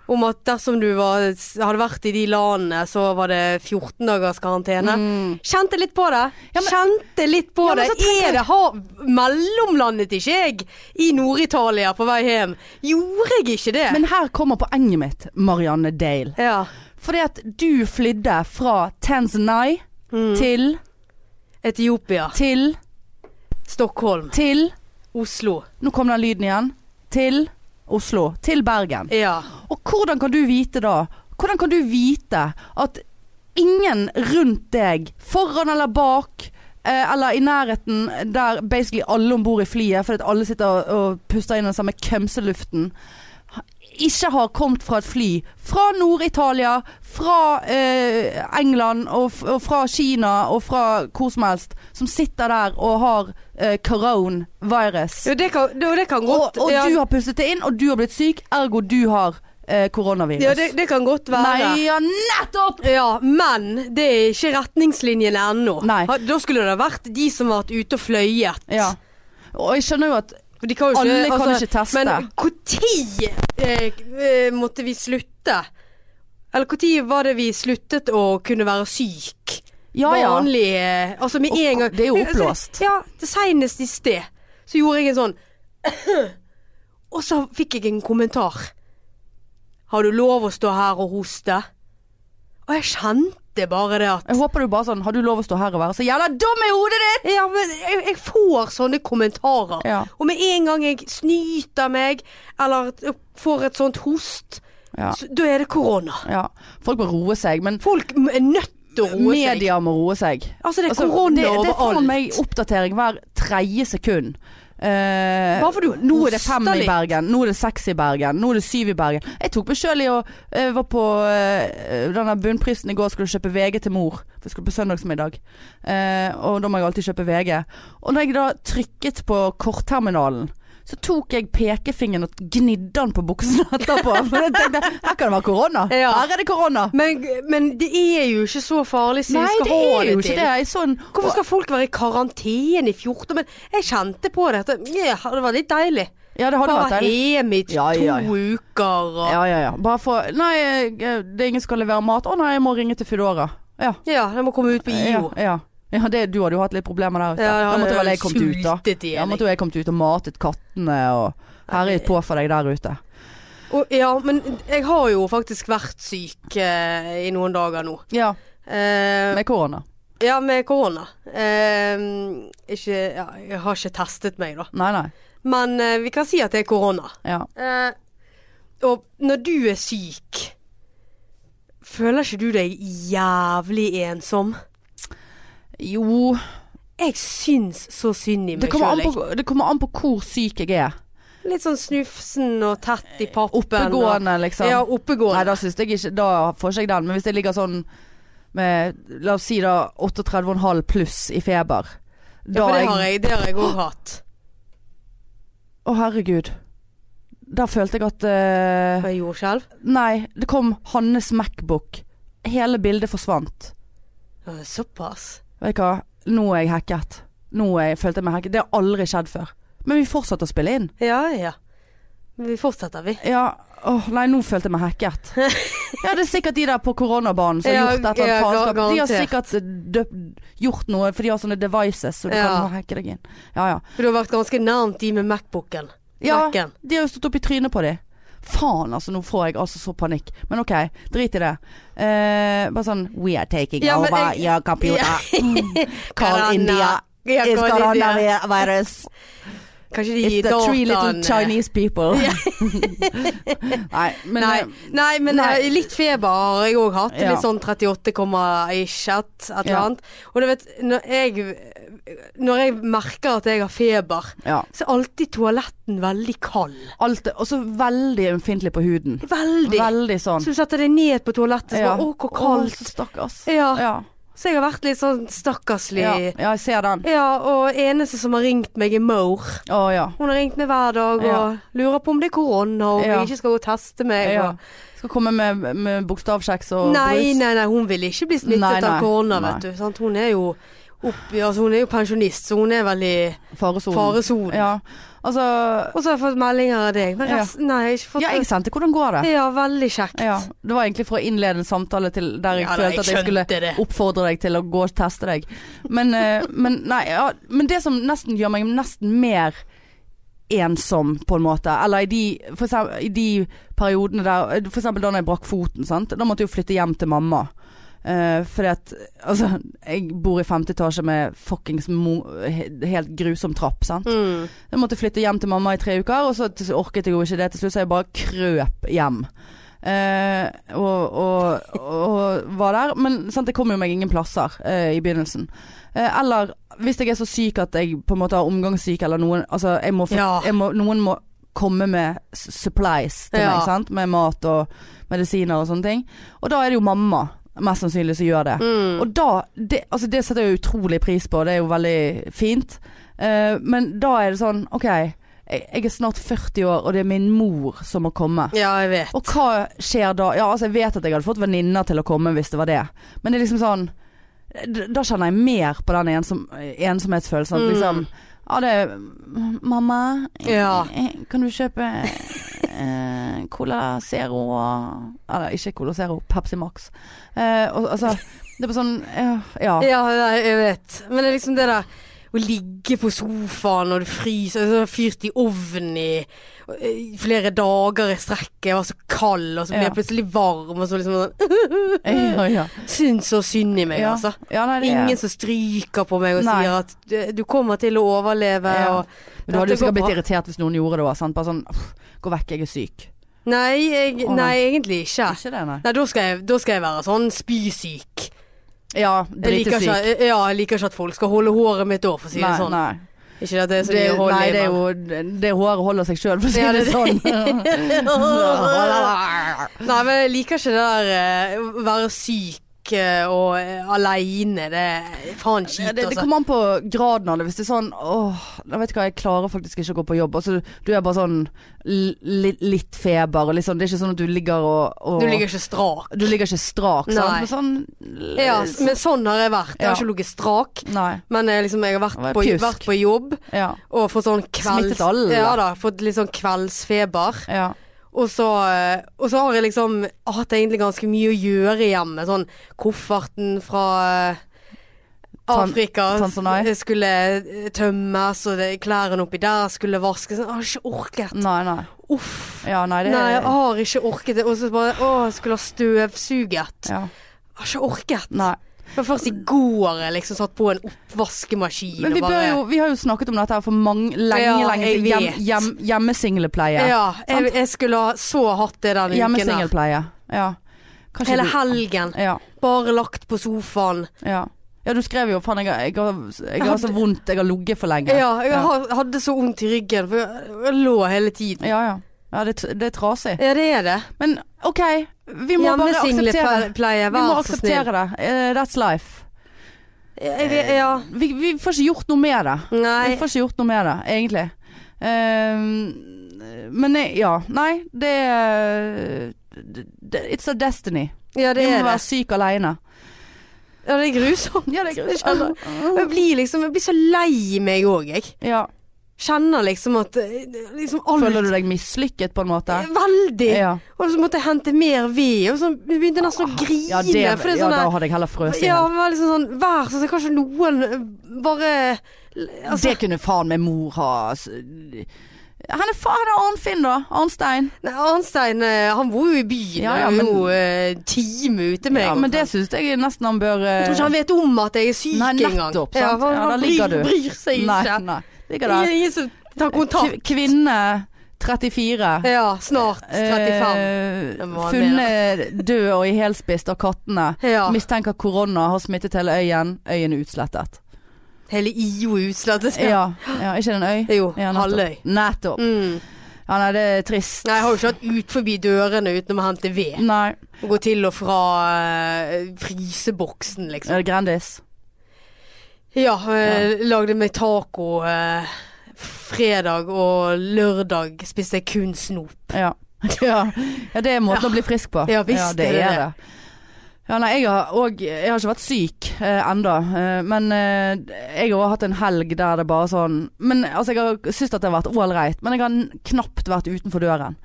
[SPEAKER 2] om at dersom du var, hadde vært i de landene, så var det 14 dagers karantene. Kjente litt på det.
[SPEAKER 1] Mm. Ja, men-
[SPEAKER 2] Kjente litt på
[SPEAKER 1] Ja,
[SPEAKER 2] det.
[SPEAKER 1] men så tenker jeg-
[SPEAKER 2] Er det har mellomlandet ikke jeg i Nord-Italia på vei hjem? Gjorde jeg ikke det?
[SPEAKER 1] Men her kommer poenget mitt, Marianne Dale.
[SPEAKER 2] ja.
[SPEAKER 1] Fordi at du flydde fra Tanzania til
[SPEAKER 2] Etiopia,
[SPEAKER 1] til
[SPEAKER 2] Stockholm,
[SPEAKER 1] til
[SPEAKER 2] Oslo.
[SPEAKER 1] Nå kom den lyden igjen. Til Oslo. Til Bergen.
[SPEAKER 2] Ja.
[SPEAKER 1] Og hvordan kan du vite da Hvordan kan du vite at ingen rundt deg, foran eller bak eh, eller i nærheten der basically alle om bord i flyet, fordi at alle sitter og- og puster inn den samme kømseluften, ha- ikke har kommet fra et fly fra Nord-Italia, fra eh, England og, f og fra Kina og fra hvor som helst, som sitter der og har eh, coronavirus.
[SPEAKER 2] Jo, det kan, det, det kan
[SPEAKER 1] Og,
[SPEAKER 2] godt
[SPEAKER 1] og
[SPEAKER 2] ja,
[SPEAKER 1] du har pustet det inn, og du har blitt syk, ergo du har eh, koronavirus.
[SPEAKER 2] ja, det, det kan godt være.
[SPEAKER 1] Nei, ja, nettopp!
[SPEAKER 2] Ja, men det er ikke retningslinjene ennå.
[SPEAKER 1] Nei.
[SPEAKER 2] Ha- Da skulle det vært de som har vært ute og fløyet.
[SPEAKER 1] Ja. Og jeg skjønner jo at
[SPEAKER 2] For De kan jo altså,
[SPEAKER 1] Alle kan ikke teste.
[SPEAKER 2] Men når eh, eh, måtte vi slutte? Eller når var det vi sluttet å kunne være syk?
[SPEAKER 1] Ja ja.
[SPEAKER 2] Vanlig eh, Altså med
[SPEAKER 1] Og
[SPEAKER 2] en gang
[SPEAKER 1] det er jo
[SPEAKER 2] Men, altså,
[SPEAKER 1] oppblåst.
[SPEAKER 2] Ja, det senest i sted så gjorde jeg en sånn Og så fikk jeg en kommentar. Har du lov å stå her og hoste? Og jeg kjente bare det at
[SPEAKER 1] Jeg håper du bare sånn Har du lov å stå her og være så jævla dum i hodet ditt?!
[SPEAKER 2] Ja, men jeg, jeg får sånne kommentarer.
[SPEAKER 1] Ja.
[SPEAKER 2] Og med en gang jeg snyter meg, eller får et sånt host,
[SPEAKER 1] Ja.
[SPEAKER 2] så, da er det korona.
[SPEAKER 1] ja. Folk må roe seg, men
[SPEAKER 2] Folk m- er nødt til å roe seg.
[SPEAKER 1] media må roe seg.
[SPEAKER 2] Altså, det er
[SPEAKER 1] Altså,
[SPEAKER 2] korona
[SPEAKER 1] det, det får
[SPEAKER 2] overalt.
[SPEAKER 1] meg oppdatering hver tredje sekund. Eh,
[SPEAKER 2] Bare for du
[SPEAKER 1] nå er det fem
[SPEAKER 2] hoster
[SPEAKER 1] i
[SPEAKER 2] litt.
[SPEAKER 1] Bergen, nå er det seks i Bergen, nå er det syv i Bergen. Jeg tok meg sjøl i å eh, var på eh, denne bunnprisen i går, skulle kjøpe VG til mor. For jeg skulle på søndagsmiddag. Eh, og da må jeg alltid kjøpe VG. Og når jeg da trykket på kortterminalen, så tok jeg pekefingeren og gnidde den på buksen etterpå. For jeg tenkte her kan det være korona.
[SPEAKER 2] Ja.
[SPEAKER 1] Her er det korona.
[SPEAKER 2] Men, men det er jo ikke så farlig som
[SPEAKER 1] Nei,
[SPEAKER 2] vi skal
[SPEAKER 1] det
[SPEAKER 2] ha
[SPEAKER 1] er sånn-
[SPEAKER 2] det
[SPEAKER 1] jo
[SPEAKER 2] til.
[SPEAKER 1] ikke det. Jeg så en
[SPEAKER 2] Hvorfor skal folk være i karantene i 14 Men jeg kjente på det. at Ja, det var litt deilig.
[SPEAKER 1] Ja, det hadde
[SPEAKER 2] Bare
[SPEAKER 1] vært
[SPEAKER 2] vært
[SPEAKER 1] deilig.
[SPEAKER 2] hjemme i to
[SPEAKER 1] Ja, ja, ja.
[SPEAKER 2] uker og ja.
[SPEAKER 1] Ja, ja, ja. Bare for Nei, jeg- det er ingen som skal levere mat. Å nei, jeg må ringe til Foodora. Ja.
[SPEAKER 2] jeg må komme ut på IO.
[SPEAKER 1] Ja, ja. ja det, du hadde jo hatt litt problemer der ute.
[SPEAKER 2] Ja, jeg
[SPEAKER 1] da måtte vel jeg
[SPEAKER 2] hadde
[SPEAKER 1] kommet ut, da.
[SPEAKER 2] sultet i hjel,
[SPEAKER 1] Ja, måtte jo jeg kommet ut og matet kattene og herjet på for deg der ute.
[SPEAKER 2] Og, ja, men jeg har jo faktisk vært syk eh, i noen dager nå.
[SPEAKER 1] Ja,
[SPEAKER 2] Eh,
[SPEAKER 1] med korona.
[SPEAKER 2] ja, med korona. Eh, ikke Ja, jeg har ikke testet meg, da.
[SPEAKER 1] Nei, nei.
[SPEAKER 2] Men eh, vi kan si at det er korona.
[SPEAKER 1] Ja.
[SPEAKER 2] Eh, og når du er syk, føler ikke du deg jævlig ensom?
[SPEAKER 1] Jo,
[SPEAKER 2] Jeg syns så synd i
[SPEAKER 1] det
[SPEAKER 2] meg
[SPEAKER 1] kommer, an
[SPEAKER 2] sjøl.
[SPEAKER 1] på, det kommer an på hvor syk jeg er.
[SPEAKER 2] Litt sånn snufsen og tett i pappen. og-
[SPEAKER 1] Oppegående, liksom.
[SPEAKER 2] Ja,
[SPEAKER 1] Nei,
[SPEAKER 2] oppegående.
[SPEAKER 1] da syns jeg ikke Da får ikke jeg den. Men hvis jeg ligger sånn med La oss si da 38,5 pluss i feber. Da
[SPEAKER 2] ja, for
[SPEAKER 1] er
[SPEAKER 2] det
[SPEAKER 1] jeg
[SPEAKER 2] har jeg, det har jeg òg hatt.
[SPEAKER 1] Å, herregud. Der følte jeg at eh,
[SPEAKER 2] Jeg gjorde skjelv.
[SPEAKER 1] Nei, det kom Hannes Macbook. Hele bildet forsvant.
[SPEAKER 2] Ja, det er Såpass.
[SPEAKER 1] Vet du hva, nå er jeg hacket. Nå er jeg, følte jeg meg hacket. Det har aldri skjedd før. Men vi fortsatte å spille inn.
[SPEAKER 2] Ja, ja. Men vi fortsetter, vi.
[SPEAKER 1] Ja, åh, nei, nå følte jeg meg hacket. Ja, det er sikkert de der på koronabanen som har
[SPEAKER 2] Ja,
[SPEAKER 1] gjort et eller
[SPEAKER 2] ja,
[SPEAKER 1] annet faenskap. De har
[SPEAKER 2] garantert.
[SPEAKER 1] sikkert døpt, gjort noe, for de har sånne devices, så du
[SPEAKER 2] Ja.
[SPEAKER 1] kan hacke deg inn. Ja, ja.
[SPEAKER 2] For du har vært ganske nærmt de med Macbooken.
[SPEAKER 1] Ja,
[SPEAKER 2] Mac-en.
[SPEAKER 1] de har jo stått opp i trynet på de. Faen, altså, nå får jeg altså så panikk. Men OK, drit i det. Eh, bare sånn We are taking
[SPEAKER 2] Ja, men
[SPEAKER 1] over
[SPEAKER 2] jeg-
[SPEAKER 1] your computer.
[SPEAKER 2] Corona.
[SPEAKER 1] Call India.
[SPEAKER 2] Ja,
[SPEAKER 1] It's
[SPEAKER 2] Call India.
[SPEAKER 1] coronavirus.
[SPEAKER 2] Kanskje de
[SPEAKER 1] It's
[SPEAKER 2] gir
[SPEAKER 1] the three little
[SPEAKER 2] dataen
[SPEAKER 1] Chinese people. nei, men um,
[SPEAKER 2] Nei, nei, men
[SPEAKER 1] Nei.
[SPEAKER 2] eh, litt feber har jeg òg hatt.
[SPEAKER 1] Ja.
[SPEAKER 2] Litt sånn 38,ish, et et eller
[SPEAKER 1] Ja.
[SPEAKER 2] annet. Og du vet, når jeg, når jeg merker at jeg har feber,
[SPEAKER 1] Ja.
[SPEAKER 2] så er alltid toaletten veldig kald.
[SPEAKER 1] Alt er også veldig ømfintlig på huden.
[SPEAKER 2] Veldig.
[SPEAKER 1] Veldig sånn.
[SPEAKER 2] Så du setter deg ned på toalettet, så
[SPEAKER 1] Ja.
[SPEAKER 2] bare, å, hvor
[SPEAKER 1] Å,
[SPEAKER 2] kaldt.
[SPEAKER 1] så stakkars.
[SPEAKER 2] Ja.
[SPEAKER 1] Ja.
[SPEAKER 2] Så jeg har vært litt sånn stakkarslig.
[SPEAKER 1] ja.
[SPEAKER 2] Ja.
[SPEAKER 1] Ja, jeg ser den.
[SPEAKER 2] og eneste som har ringt meg, er Moore.
[SPEAKER 1] Å ja.
[SPEAKER 2] Hun har ringt meg hver dag og
[SPEAKER 1] Ja.
[SPEAKER 2] lurer på om det er korona, og om
[SPEAKER 1] Ja.
[SPEAKER 2] jeg ikke skal gå og teste meg.
[SPEAKER 1] ja.
[SPEAKER 2] og-
[SPEAKER 1] Skal komme med, med bokstavkjeks og
[SPEAKER 2] Nei,
[SPEAKER 1] brus.
[SPEAKER 2] nei, nei, hun vil ikke bli smittet
[SPEAKER 1] Nei, nei,
[SPEAKER 2] av korona,
[SPEAKER 1] nei.
[SPEAKER 2] vet du. Sant? Hun er jo opp, altså, hun er jo pensjonist, så hun er veldig
[SPEAKER 1] Faresonen.
[SPEAKER 2] faresonen.
[SPEAKER 1] Ja. Altså
[SPEAKER 2] Og så har jeg fått meldinger av deg. Men
[SPEAKER 1] Ja.
[SPEAKER 2] resten, nei, jeg har ikke fått
[SPEAKER 1] Ja, jeg sendte 'Hvordan går det?'
[SPEAKER 2] Ja, veldig kjekt.
[SPEAKER 1] Ja, det var egentlig for å innlede en samtale til der jeg
[SPEAKER 2] Ja, da,
[SPEAKER 1] følte
[SPEAKER 2] jeg
[SPEAKER 1] at jeg skulle
[SPEAKER 2] skjønte det.
[SPEAKER 1] oppfordre deg til å gå og teste deg. Men, eh, men nei, ja, men det som nesten gjør meg nesten mer ensom, på en måte, eller i de, for eksempel, i de periodene der For eksempel da når jeg brakk foten, sant. Da måtte jeg jo flytte hjem til mamma. Eh, fordi at Altså, jeg bor i femte etasje med fuckings mo he- helt grusom trapp, sant.
[SPEAKER 2] Mm.
[SPEAKER 1] Jeg måtte flytte hjem til mamma i tre uker, og så til- orket jeg jo ikke det til slutt, så jeg bare krøp hjem. Eh, og, og, og var der. Men sant, det kom jo meg ingen plasser eh, i begynnelsen. Eh, eller hvis jeg er så syk at jeg på en måte har omgangssyke eller noen Altså, jeg må, få,
[SPEAKER 2] Ja.
[SPEAKER 1] jeg må noen må komme med s- supplies til
[SPEAKER 2] Ja.
[SPEAKER 1] meg, sant. Med mat og medisiner og sånne ting. Og da er det jo mamma, mest sannsynlig, som gjør det.
[SPEAKER 2] Mm.
[SPEAKER 1] Og da, det, altså det setter jeg jo utrolig pris på, det er jo veldig fint. Eh, men da er det sånn, ok, jeg, jeg er snart 40 år, og det er min mor som må komme.
[SPEAKER 2] Ja, jeg vet.
[SPEAKER 1] Og hva skjer da? Ja, altså jeg vet at jeg hadde fått venninner til å komme hvis det var det. Men det er liksom sånn, d- da kjenner jeg mer på den ensom, ensomhetsfølelsen. At
[SPEAKER 2] Mm.
[SPEAKER 1] liksom, ja det er, mamma,
[SPEAKER 2] Ja.
[SPEAKER 1] eh, kan du kjøpe eh, Cola Zero og, eller ikke Cola Zero, Pepsi Max. Eh, og, altså, det er bare sånn, eh, ja.
[SPEAKER 2] Ja, nei, jeg vet. Men det er liksom det der å ligge på sofaen og du fryser, og så har jeg fyrt i ovnen i i flere dager i strekk, jeg var så kald, og så ble
[SPEAKER 1] Ja.
[SPEAKER 2] jeg plutselig varm, og så liksom sånn
[SPEAKER 1] Ja, ja.
[SPEAKER 2] Syns så synd i meg,
[SPEAKER 1] Eh, Ja.
[SPEAKER 2] altså.
[SPEAKER 1] Ja, nei, det er-
[SPEAKER 2] Ingen som stryker på meg og
[SPEAKER 1] Nei.
[SPEAKER 2] sier at du- du kommer til å overleve
[SPEAKER 1] Ja.
[SPEAKER 2] og
[SPEAKER 1] Men du hadde jo
[SPEAKER 2] Dette går
[SPEAKER 1] sikkert blitt
[SPEAKER 2] bra.
[SPEAKER 1] irritert hvis noen gjorde det òg. Bare sånn «Uff, Gå vekk, jeg er syk.
[SPEAKER 2] Nei, jeg,
[SPEAKER 1] Å,
[SPEAKER 2] nei, egentlig ikke.
[SPEAKER 1] Ikke det, nei.
[SPEAKER 2] Nei, da skal, jeg, da skal jeg være sånn spysyk.
[SPEAKER 1] Ja,
[SPEAKER 2] Jeg liker,
[SPEAKER 1] dritesyk.
[SPEAKER 2] ikke, ja, jeg liker ikke at folk skal holde håret mitt da, for å si det
[SPEAKER 1] Nei,
[SPEAKER 2] sånn.
[SPEAKER 1] nei.
[SPEAKER 2] Ikke at det er så
[SPEAKER 1] Det,
[SPEAKER 2] mye å holde
[SPEAKER 1] nei,
[SPEAKER 2] i,
[SPEAKER 1] det er
[SPEAKER 2] men-
[SPEAKER 1] jo Det håret holder seg sjøl, for å si
[SPEAKER 2] Ja,
[SPEAKER 1] det
[SPEAKER 2] det-
[SPEAKER 1] sånn.
[SPEAKER 2] Nei, men jeg liker ikke det der eh, å være syk eh, og eh, aleine. Det er faen kjipt,
[SPEAKER 1] Det, det
[SPEAKER 2] altså.
[SPEAKER 1] kommer an på graden av det. Hvis det er sånn åh, jeg vet ikke hva, jeg klarer faktisk ikke å gå på jobb. Altså, du er bare sånn li, li- litt feber og litt sånn. Det er ikke sånn at du ligger og, og
[SPEAKER 2] Du ligger ikke strak.
[SPEAKER 1] du ligger ikke strak, sant?
[SPEAKER 2] Nei.
[SPEAKER 1] Men sånn
[SPEAKER 2] Ja, men sånn har jeg vært. Jeg
[SPEAKER 1] Ja.
[SPEAKER 2] har ikke ligget strak,
[SPEAKER 1] Nei.
[SPEAKER 2] men eh, liksom, jeg har vært
[SPEAKER 1] Var
[SPEAKER 2] på,
[SPEAKER 1] pjusk.
[SPEAKER 2] vært på jobb
[SPEAKER 1] Ja.
[SPEAKER 2] og fått sånn kvelds...
[SPEAKER 1] Smittet alle.
[SPEAKER 2] Ja da, fått litt sånn kveldsfeber.
[SPEAKER 1] ja.
[SPEAKER 2] Og så, eh, og så har jeg liksom hatt egentlig ganske mye å gjøre hjemme. Sånn kofferten fra eh,
[SPEAKER 1] Tan-
[SPEAKER 2] Afrika
[SPEAKER 1] Tanzania?
[SPEAKER 2] s- skulle eh, tømmes, og det, klærne oppi der skulle vaskes. Jeg har ikke orket.
[SPEAKER 1] Nei, nei.
[SPEAKER 2] Uff.
[SPEAKER 1] Ja, nei, det
[SPEAKER 2] Nei, ah. jeg har ikke orket det. Og så bare Å, jeg skulle ha støvsuget.
[SPEAKER 1] ja.
[SPEAKER 2] Jeg har ikke orket.
[SPEAKER 1] Nei.
[SPEAKER 2] Det var først i går jeg liksom satt på en oppvaskemaskin.
[SPEAKER 1] Men vi,
[SPEAKER 2] og
[SPEAKER 1] bør
[SPEAKER 2] bare,
[SPEAKER 1] jo, vi har jo snakket om dette her for mange, lenge,
[SPEAKER 2] Ja,
[SPEAKER 1] lenge
[SPEAKER 2] jeg
[SPEAKER 1] siden. Hjem,
[SPEAKER 2] vet.
[SPEAKER 1] hjem, hjemmesinglepleie.
[SPEAKER 2] Ja, jeg, jeg skulle ha så hatt det den uken her.
[SPEAKER 1] Hjemmesinglepleie. Ja. Kanskje
[SPEAKER 2] Hele
[SPEAKER 1] du-
[SPEAKER 2] helgen.
[SPEAKER 1] Ja,
[SPEAKER 2] Bare lagt på sofaen.
[SPEAKER 1] ja. ja, du skrev jo faen, jeg, har- jeg, har- jeg har så vondt, jeg har ligget for lenge.
[SPEAKER 2] Ja, jeg
[SPEAKER 1] ja.
[SPEAKER 2] ha- hadde så vondt i ryggen, for jeg, jeg lå hele tiden.
[SPEAKER 1] ja, ja. Ja, det, er tr- det er trasig.
[SPEAKER 2] Ja, det er det.
[SPEAKER 1] Men OK, vi må bare akseptere,
[SPEAKER 2] Hjemmesinglepleie,
[SPEAKER 1] vi må
[SPEAKER 2] vær så
[SPEAKER 1] akseptere
[SPEAKER 2] snill.
[SPEAKER 1] det. Eh, that's life.
[SPEAKER 2] Jeg, jeg, ja.
[SPEAKER 1] Vi, vi får ikke gjort noe med det.
[SPEAKER 2] Nei.
[SPEAKER 1] Jeg får ikke gjort noe med det, egentlig. Eh, men jeg, ja. Nei, det er det- It's a destiny.
[SPEAKER 2] Ja, det
[SPEAKER 1] Vi må
[SPEAKER 2] er
[SPEAKER 1] være
[SPEAKER 2] det.
[SPEAKER 1] syk alene.
[SPEAKER 2] Ja, det er grusomt.
[SPEAKER 1] Ja, det er
[SPEAKER 2] Jeg skjønner. Jeg blir liksom Jeg blir så lei meg òg, jeg.
[SPEAKER 1] Ja.
[SPEAKER 2] Kjenner liksom at eh, liksom alt
[SPEAKER 1] Føler du deg mislykket, på en måte?
[SPEAKER 2] Veldig.
[SPEAKER 1] Ja.
[SPEAKER 2] Og så måtte jeg hente mer ved, og så begynte jeg nesten å grine.
[SPEAKER 1] Ja, det,
[SPEAKER 2] for det er
[SPEAKER 1] ja
[SPEAKER 2] sånn
[SPEAKER 1] da
[SPEAKER 2] der-
[SPEAKER 1] hadde jeg heller frøst
[SPEAKER 2] Ja,
[SPEAKER 1] inn.
[SPEAKER 2] det var liksom sånn Vær så snill, kanskje noen eh, bare altså,
[SPEAKER 1] det kunne faen meg mor ha s- Henne faen er Arnfinn, da. Arnstein.
[SPEAKER 2] Nei, Arnstein eh, han bor jo i byen.
[SPEAKER 1] Ja, ja,
[SPEAKER 2] han er jo
[SPEAKER 1] men-
[SPEAKER 2] eh, time ute med
[SPEAKER 1] Ja,
[SPEAKER 2] meg.
[SPEAKER 1] men det syns jeg nesten han bør
[SPEAKER 2] jeg tror ikke han vet om at jeg er syk
[SPEAKER 1] Nei,
[SPEAKER 2] engang.
[SPEAKER 1] nettopp, sant?
[SPEAKER 2] Ja, han,
[SPEAKER 1] Ja, da
[SPEAKER 2] han
[SPEAKER 1] ligger
[SPEAKER 2] bryr,
[SPEAKER 1] du.
[SPEAKER 2] bryr seg
[SPEAKER 1] eh, Nei,
[SPEAKER 2] ikke.
[SPEAKER 1] nei. Ligger
[SPEAKER 2] Det
[SPEAKER 1] der. Eh,
[SPEAKER 2] er ingen som tar
[SPEAKER 1] Kv-
[SPEAKER 2] kontakt.
[SPEAKER 1] Kvinne 34.
[SPEAKER 2] Ja, snart 35. Eh, Det må
[SPEAKER 1] Eh,
[SPEAKER 2] han
[SPEAKER 1] funnet død og i helspist av kattene.
[SPEAKER 2] Ja.
[SPEAKER 1] Mistenker korona har smittet hele øyen. Øyen er utslettet.
[SPEAKER 2] Hele IO er utslettet.
[SPEAKER 1] Ja, ja ikke det en øy?
[SPEAKER 2] Jo,
[SPEAKER 1] Ja, nettopp.
[SPEAKER 2] halvøy.
[SPEAKER 1] Nettopp.
[SPEAKER 2] Mm.
[SPEAKER 1] Ja, nei, det er trist.
[SPEAKER 2] Nei, jeg har jo ikke vært ut forbi dørene uten å hente ved.
[SPEAKER 1] Nei.
[SPEAKER 2] Og gå til og fra eh, fryseboksen, liksom.
[SPEAKER 1] Er det Grandis?
[SPEAKER 2] Ja, eh, lagde meg taco eh, fredag og lørdag spiste jeg kun snop.
[SPEAKER 1] Ja. Ja. ja, det er måten å bli frisk på.
[SPEAKER 2] Ja, visst
[SPEAKER 1] ja, det
[SPEAKER 2] er det
[SPEAKER 1] er
[SPEAKER 2] det.
[SPEAKER 1] det. Ja, nei, jeg har, og, jeg har ikke vært syk eh, enda, eh, men eh, jeg har også hatt en helg der det bare sånn men, altså, Jeg har syntes at det har vært ålreit, men jeg har n- knapt vært utenfor døren.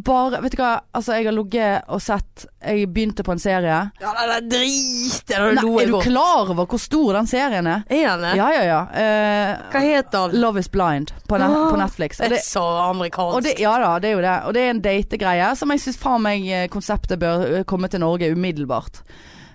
[SPEAKER 1] Bare, vet du hva, altså, jeg har ligget og sett Jeg begynte på en serie.
[SPEAKER 2] Ja, det er drit! Det er
[SPEAKER 1] Nei,
[SPEAKER 2] noe
[SPEAKER 1] er du
[SPEAKER 2] godt.
[SPEAKER 1] klar over hvor stor den serien er?
[SPEAKER 2] Er han det?
[SPEAKER 1] Ja, ja, ja. Eh,
[SPEAKER 2] Hva heter han?
[SPEAKER 1] Love is blind på, ne
[SPEAKER 2] Ah,
[SPEAKER 1] på Netflix. Og
[SPEAKER 2] Det
[SPEAKER 1] det,
[SPEAKER 2] er så amerikansk.
[SPEAKER 1] og det, ja da, det er jo det. Og det er en dategreie som jeg syns faen meg eh, konseptet bør eh, komme til Norge umiddelbart.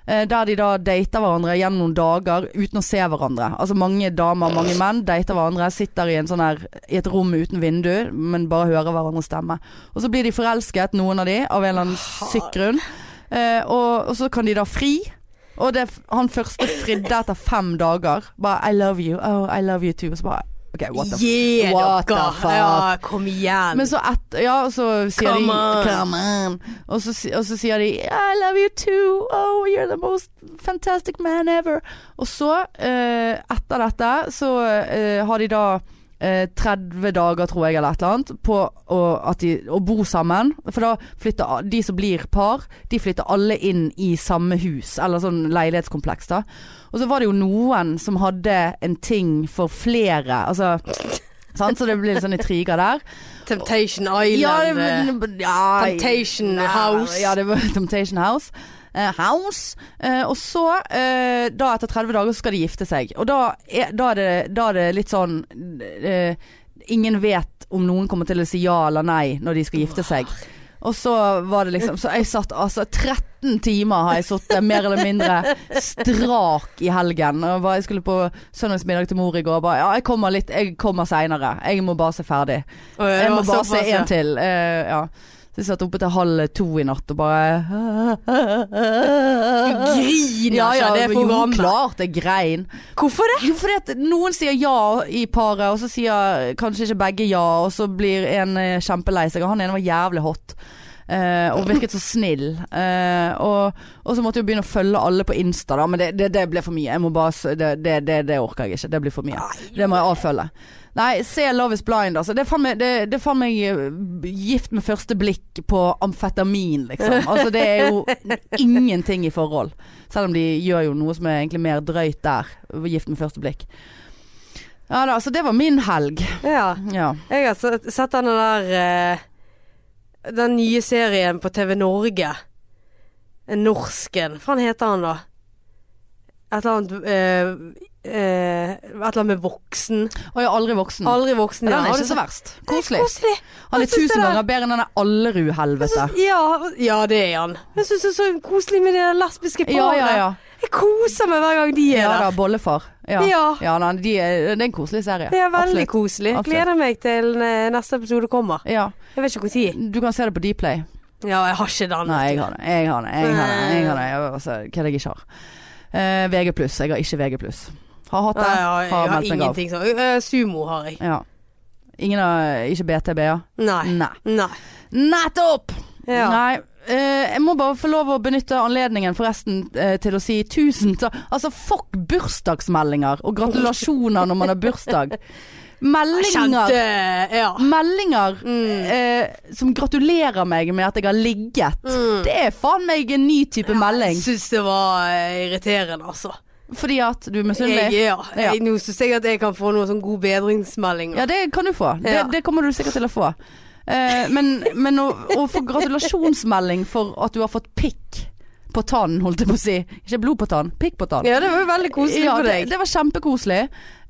[SPEAKER 1] Eh, Der de da dater hverandre gjennom noen dager uten å se hverandre. Altså mange damer, mange menn dater hverandre, sitter i, en sånn her, i et rom uten vindu, men bare hører hverandres stemme. Og så blir de forelsket, noen av de, av en eller annen syk grunn. Eh, og, og så kan de da fri. Og det, han første fridde etter fem dager. Bare 'I love you', 'oh, I love you too'. Og så bare OK, what the
[SPEAKER 2] Gi
[SPEAKER 1] What
[SPEAKER 2] dere!
[SPEAKER 1] the fuck?
[SPEAKER 2] Ja, kom igjen.
[SPEAKER 1] men så et, ja, så sier
[SPEAKER 2] Come
[SPEAKER 1] de
[SPEAKER 2] on.
[SPEAKER 1] Come on. Og, så, si- og så sier de I love you too. Oh, you're the most fantastic man ever. Og så, eh, etter dette, så eh, har de da eh, 30 dager, tror jeg, eller et eller annet, på å, at de, å bo sammen. For da flytter a- de som blir par, de flytter alle inn i samme hus, eller sånn leilighetskompleks, da. Og så var det jo noen som hadde en ting for flere, altså Sant? Så det blir litt sånn intriger der.
[SPEAKER 2] Temptation Island.
[SPEAKER 1] Ja,
[SPEAKER 2] eh,
[SPEAKER 1] men, men- ja,
[SPEAKER 2] Temptation
[SPEAKER 1] ja,
[SPEAKER 2] House.
[SPEAKER 1] Ja, det var Temptation House. Eh, house. Eh, og så, eh, da etter 30 dager, så skal de gifte seg. Og da er, da er, det, da er det litt sånn eh, Ingen vet om noen kommer til å si ja eller nei når de skal gifte seg. Og så var det liksom Så jeg satt altså 13 timer har jeg sittet mer eller mindre strak i helgen. Og bare, jeg skulle på søndagsmiddag til mor i går og bare Ja, jeg kommer litt, jeg kommer seinere. Jeg må bare se ferdig.
[SPEAKER 2] Å, ja,
[SPEAKER 1] Jeg må
[SPEAKER 2] det var
[SPEAKER 1] bare se
[SPEAKER 2] såpass, ja.
[SPEAKER 1] en til. eh, ja. Så jeg satt oppe til halv to i natt og bare
[SPEAKER 2] Du griner
[SPEAKER 1] Ja, ja,
[SPEAKER 2] ikke av det
[SPEAKER 1] jo,
[SPEAKER 2] programmet.
[SPEAKER 1] klart jeg grein.
[SPEAKER 2] Hvorfor det?
[SPEAKER 1] Jo, fordi at noen sier ja i paret, og så sier kanskje ikke begge ja, og så blir en eh, kjempelei seg. Og han ene var jævlig hot. eh, og virket så snill. Eh, og, og så måtte jeg jo begynne å følge alle på Insta, da. Men det, det, det ble for mye. Jeg må bare, s- det, det, det, det orker jeg ikke. Det blir for mye. Det må jeg avfølge. Nei, se Love is blind, altså. Det er faen meg, det, det er faen meg eh, gift med første blikk på amfetamin, liksom. Altså det er jo ingenting i forhold. Selv om de gjør jo noe som er egentlig mer drøyt der. Gift med første blikk. Ja da, så det var min helg.
[SPEAKER 2] Ja,
[SPEAKER 1] Ja.
[SPEAKER 2] jeg har sett- sett den der eh, Den nye serien på TV Norge. En Norsken. Hva faen heter han da? Et eller annet eh, eh, Et eller annet med voksen.
[SPEAKER 1] Og jeg er aldri voksen.
[SPEAKER 2] Aldri voksen.
[SPEAKER 1] Mm. Den er
[SPEAKER 2] ja. Har
[SPEAKER 1] ikke
[SPEAKER 2] du
[SPEAKER 1] så
[SPEAKER 2] sett-
[SPEAKER 1] verst. Koselig.
[SPEAKER 2] Koselig.
[SPEAKER 1] Han er
[SPEAKER 2] Jeg synes
[SPEAKER 1] tusen
[SPEAKER 2] det er-
[SPEAKER 1] ganger bedre enn denne Allerud-helvete.
[SPEAKER 2] Ja, ja, det er han. Jeg syns det er så koselig med det lesbiske paret.
[SPEAKER 1] Ja, ja, ja.
[SPEAKER 2] Jeg koser meg hver gang de er
[SPEAKER 1] Ja da,
[SPEAKER 2] der.
[SPEAKER 1] bollefar. Ja,
[SPEAKER 2] Ja.
[SPEAKER 1] nei, de er, det er en koselig serie.
[SPEAKER 2] Det er veldig
[SPEAKER 1] Absolutt.
[SPEAKER 2] koselig. Jeg
[SPEAKER 1] Absolutt.
[SPEAKER 2] gleder meg til eh, neste episode kommer.
[SPEAKER 1] Ja.
[SPEAKER 2] Jeg vet ikke når.
[SPEAKER 1] Du kan se det på Dplay.
[SPEAKER 2] Ja, jeg har ikke den.
[SPEAKER 1] Nei, jeg har det. Jeg har det. Jeg har det. Jeg har det. Jeg, altså, hva er det jeg ikke har? Eh, VG+. Jeg har ikke VG+. Har hatt
[SPEAKER 2] Nei,
[SPEAKER 1] det.
[SPEAKER 2] jeg har, jeg
[SPEAKER 1] Har
[SPEAKER 2] har
[SPEAKER 1] meldt meg av.
[SPEAKER 2] ingenting sånn. Eh, sumo har jeg.
[SPEAKER 1] Ja. Ingen av Ikke BTB-er?
[SPEAKER 2] Nei.
[SPEAKER 1] Nei.
[SPEAKER 2] Nei.
[SPEAKER 1] Nettopp!
[SPEAKER 2] Ja.
[SPEAKER 1] Nei. eh, jeg må bare få lov å benytte anledningen forresten eh, til å si tusen takk Altså fuck bursdagsmeldinger og gratulasjoner når man har bursdag.
[SPEAKER 2] Jeg
[SPEAKER 1] Meldinger
[SPEAKER 2] Kjente Mm. Ja.
[SPEAKER 1] Meldinger eh, som gratulerer meg med at jeg har ligget.
[SPEAKER 2] Mm.
[SPEAKER 1] Det er faen meg en ny type melding.
[SPEAKER 2] Jeg syns det var eh, irriterende, altså.
[SPEAKER 1] Fordi at du er
[SPEAKER 2] Jeg,
[SPEAKER 1] misunnelig.
[SPEAKER 2] ja. Jeg, nå syns jeg at jeg kan få noen sånn god bedringsmelding.
[SPEAKER 1] Ja, det kan du få. Det,
[SPEAKER 2] Ja.
[SPEAKER 1] det kommer du sikkert til å få. Eh, men men å, å få gratulasjonsmelding for at du har fått pikk på tannen, holdt jeg på å si. Ikke blod på tann, pikk på tann.
[SPEAKER 2] Ja, det var jo veldig koselig
[SPEAKER 1] Ja,
[SPEAKER 2] for
[SPEAKER 1] det,
[SPEAKER 2] deg.
[SPEAKER 1] det var kjempekoselig,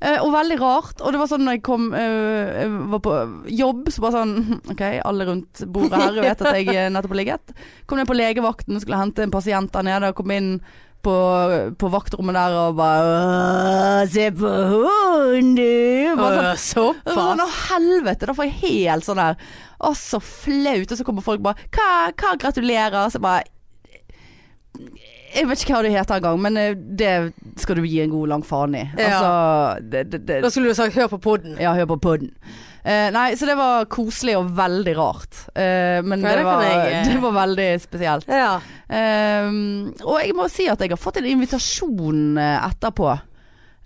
[SPEAKER 1] eh, og veldig rart. Og det var sånn når jeg kom eh, jeg var på jobb, så bare sånn OK, alle rundt bordet her vet at jeg eh, nettopp har ligget. Kom ned på legevakten, skulle hente en pasient der nede, og kom inn på, på vaktrommet der og bare «Åh, Se på hun, du! Bare sånn,
[SPEAKER 2] Øh,
[SPEAKER 1] det var
[SPEAKER 2] Såpass.
[SPEAKER 1] noe helvete, da får jeg helt sånn der Å, så flaut. Og så kommer folk bare Hva, hva gratulerer? Og så bare Jeg vet ikke hva det heter engang, men eh, det skal du gi en god lang faen i.
[SPEAKER 2] Ja.
[SPEAKER 1] Altså det, det,
[SPEAKER 2] Da
[SPEAKER 1] det,
[SPEAKER 2] skulle du sagt 'hør på podden'.
[SPEAKER 1] Ja, hør på podden. Eh, nei, så det var koselig og veldig rart. Eh, men
[SPEAKER 2] Ja,
[SPEAKER 1] det,
[SPEAKER 2] det kan
[SPEAKER 1] var,
[SPEAKER 2] jeg, eh.
[SPEAKER 1] det var veldig spesielt.
[SPEAKER 2] Ja.
[SPEAKER 1] Eh, og jeg må si at jeg har fått en invitasjon eh, etterpå.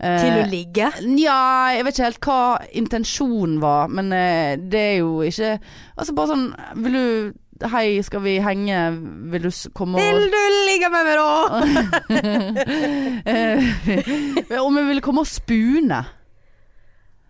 [SPEAKER 2] Til
[SPEAKER 1] Eh,
[SPEAKER 2] å ligge.
[SPEAKER 1] Nja, jeg vet ikke helt hva intensjonen var, men eh, det er jo ikke Altså bare sånn Vil du Hei, skal vi henge? Vil du s- komme og
[SPEAKER 2] Vil du ligge med meg, da?
[SPEAKER 1] Eh, Om jeg ville komme og spune?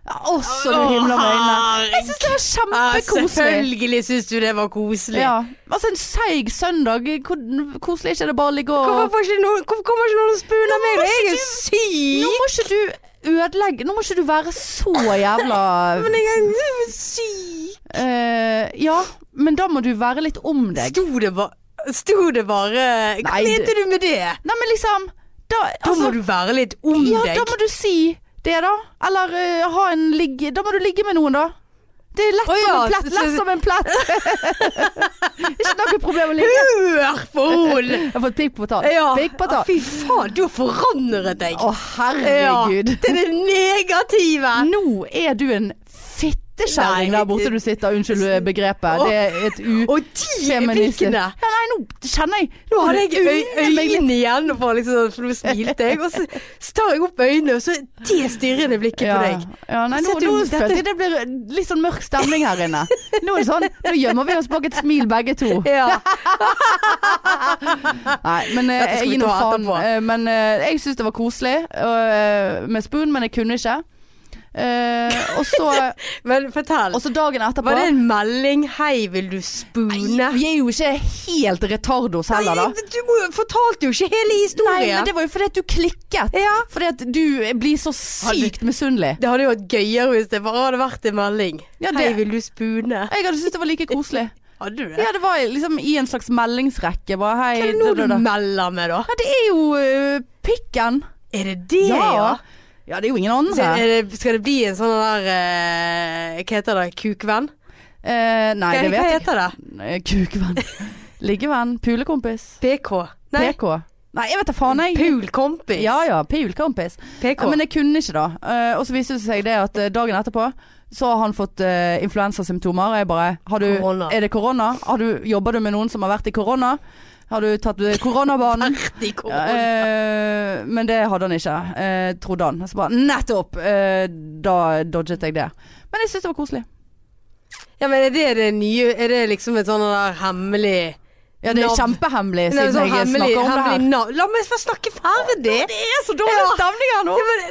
[SPEAKER 1] Ja, Å, så du
[SPEAKER 2] Å,
[SPEAKER 1] himler med øynene. Jeg syns det var
[SPEAKER 2] Ja,
[SPEAKER 1] kjempekoselig.
[SPEAKER 2] selvfølgelig syns du det var koselig.
[SPEAKER 1] Ja, altså en seig søndag. Hvor koselig er ikke det bare å ligge
[SPEAKER 2] Hvorfor
[SPEAKER 1] og
[SPEAKER 2] får ikke noen, hvorfor kommer ikke noen og spooner meg?
[SPEAKER 1] må
[SPEAKER 2] Jeg
[SPEAKER 1] ikke
[SPEAKER 2] er syk!
[SPEAKER 1] Nå må ikke du ødelegge Nå må ikke du være så jævla
[SPEAKER 2] Men jeg er- jeg er syk!
[SPEAKER 1] eh, Ja, men da må du være litt om deg.
[SPEAKER 2] Sto det bare Sto det bare Hva
[SPEAKER 1] Nei,
[SPEAKER 2] mente
[SPEAKER 1] det-
[SPEAKER 2] du med det?
[SPEAKER 1] Nei, men liksom Da,
[SPEAKER 2] Da
[SPEAKER 1] altså,
[SPEAKER 2] må du være litt om
[SPEAKER 1] ja,
[SPEAKER 2] deg.
[SPEAKER 1] da må du si det, da. Eller eh, ha en ligge Da må du ligge med noen, da. Det er lett,
[SPEAKER 2] Å
[SPEAKER 1] som,
[SPEAKER 2] ja,
[SPEAKER 1] en plett,
[SPEAKER 2] så-
[SPEAKER 1] lett som en plett. Ikke noe problem å ligge.
[SPEAKER 2] Hør på henne!
[SPEAKER 1] Jeg har fått pikk på tann.
[SPEAKER 2] Ja.
[SPEAKER 1] Pikk på tann.
[SPEAKER 2] Fy faen, du har forandret deg.
[SPEAKER 1] Å, herregud.
[SPEAKER 2] Ja, til det negative.
[SPEAKER 1] Nå er du en fittekjerring
[SPEAKER 2] Nei,
[SPEAKER 1] der borte du sitter. Unnskyld begrepet.
[SPEAKER 2] Å.
[SPEAKER 1] Det er et u...
[SPEAKER 2] Og de
[SPEAKER 1] Feministisk.
[SPEAKER 2] pikkene.
[SPEAKER 1] Ja, nei, nå kjenner jeg
[SPEAKER 2] Nå hadde jeg øy-
[SPEAKER 1] unner meg litt.
[SPEAKER 2] øynene igjen, og bare liksom, sånn, for nå smilte jeg. Og så tar jeg opp øynene, og så er det stirrende blikket på deg.
[SPEAKER 1] Ja, nei, nå, nå
[SPEAKER 2] Sett du- dette-
[SPEAKER 1] følte jeg det blir litt sånn mørk stemning her inne. Nå er det sånn, nå gjemmer vi oss bak et smil begge to.
[SPEAKER 2] Ja.
[SPEAKER 1] Nei, men eh,
[SPEAKER 2] Dette
[SPEAKER 1] jeg
[SPEAKER 2] skal vi
[SPEAKER 1] gir nå
[SPEAKER 2] ta
[SPEAKER 1] faen.
[SPEAKER 2] etterpå.
[SPEAKER 1] Eh, Men eh, jeg syns det var koselig eh, med spoon, men jeg kunne ikke. Eh, og så
[SPEAKER 2] Men fortell.
[SPEAKER 1] og så dagen etterpå
[SPEAKER 2] Var det en melding 'Hei, vil du spoone'?
[SPEAKER 1] Vi er jo ikke helt retardos heller, da.
[SPEAKER 2] Nei, Du må- fortalte jo ikke hele
[SPEAKER 1] Nei,
[SPEAKER 2] historien.
[SPEAKER 1] men det var jo fordi at du klikket.
[SPEAKER 2] ja.
[SPEAKER 1] Fordi at du blir så sykt misunnelig.
[SPEAKER 2] det hadde jo vært gøyere hvis det bare hadde vært en melding.
[SPEAKER 1] Ja, det-
[SPEAKER 2] 'Hei, vil du spoone'?
[SPEAKER 1] Jeg hadde syntes det var like koselig.
[SPEAKER 2] Hadde du det?
[SPEAKER 1] Ja, det var liksom i en slags meldingsrekke. Bare hei
[SPEAKER 2] Hva er det
[SPEAKER 1] da,
[SPEAKER 2] nå
[SPEAKER 1] da,
[SPEAKER 2] du
[SPEAKER 1] da.
[SPEAKER 2] melder med, da?
[SPEAKER 1] Ja, det er jo ø, pikken.
[SPEAKER 2] Er det det,
[SPEAKER 1] ja. Ja, det er jo ingen annen
[SPEAKER 2] Så
[SPEAKER 1] her.
[SPEAKER 2] er det, skal det bli en sånn der eh, Hva heter det? Kukvenn?
[SPEAKER 1] Eh, nei,
[SPEAKER 2] Hva,
[SPEAKER 1] det
[SPEAKER 2] hva
[SPEAKER 1] vet jeg.
[SPEAKER 2] heter det?
[SPEAKER 1] Eh, Kukvenn. Liggevenn. Pulekompis.
[SPEAKER 2] PK? Nei,
[SPEAKER 1] PK. Nei, jeg vet da faen, jeg.
[SPEAKER 2] pulkompis.
[SPEAKER 1] Ja ja, pulkompis.
[SPEAKER 2] PK.
[SPEAKER 1] Ja, men jeg kunne ikke, da. Eh, og så viste det seg det at eh, dagen etterpå så har han fått eh, influensasymptomer. Og jeg bare har du,
[SPEAKER 2] Korona.
[SPEAKER 1] Er det korona? Har du, jobber du med noen som har vært i korona? Har du tatt eh, koronabanen?
[SPEAKER 2] Artig korona.
[SPEAKER 1] Ja, eh, men det hadde han ikke, eh, trodde han. Så bare nettopp! Eh, da dodget jeg det. Men jeg syns det var koselig.
[SPEAKER 2] Ja, men er det det nye Er det liksom et sånn der hemmelig
[SPEAKER 1] Ja, det er
[SPEAKER 2] Nav.
[SPEAKER 1] kjempehemmelig
[SPEAKER 2] Nei,
[SPEAKER 1] siden
[SPEAKER 2] sånn
[SPEAKER 1] jeg
[SPEAKER 2] hemmelig,
[SPEAKER 1] snakker om det
[SPEAKER 2] hemmelig
[SPEAKER 1] her.
[SPEAKER 2] navn. La meg få snakke ferdig!
[SPEAKER 1] Det er så dårlig
[SPEAKER 2] Ja.
[SPEAKER 1] stemning her nå!
[SPEAKER 2] Ja, men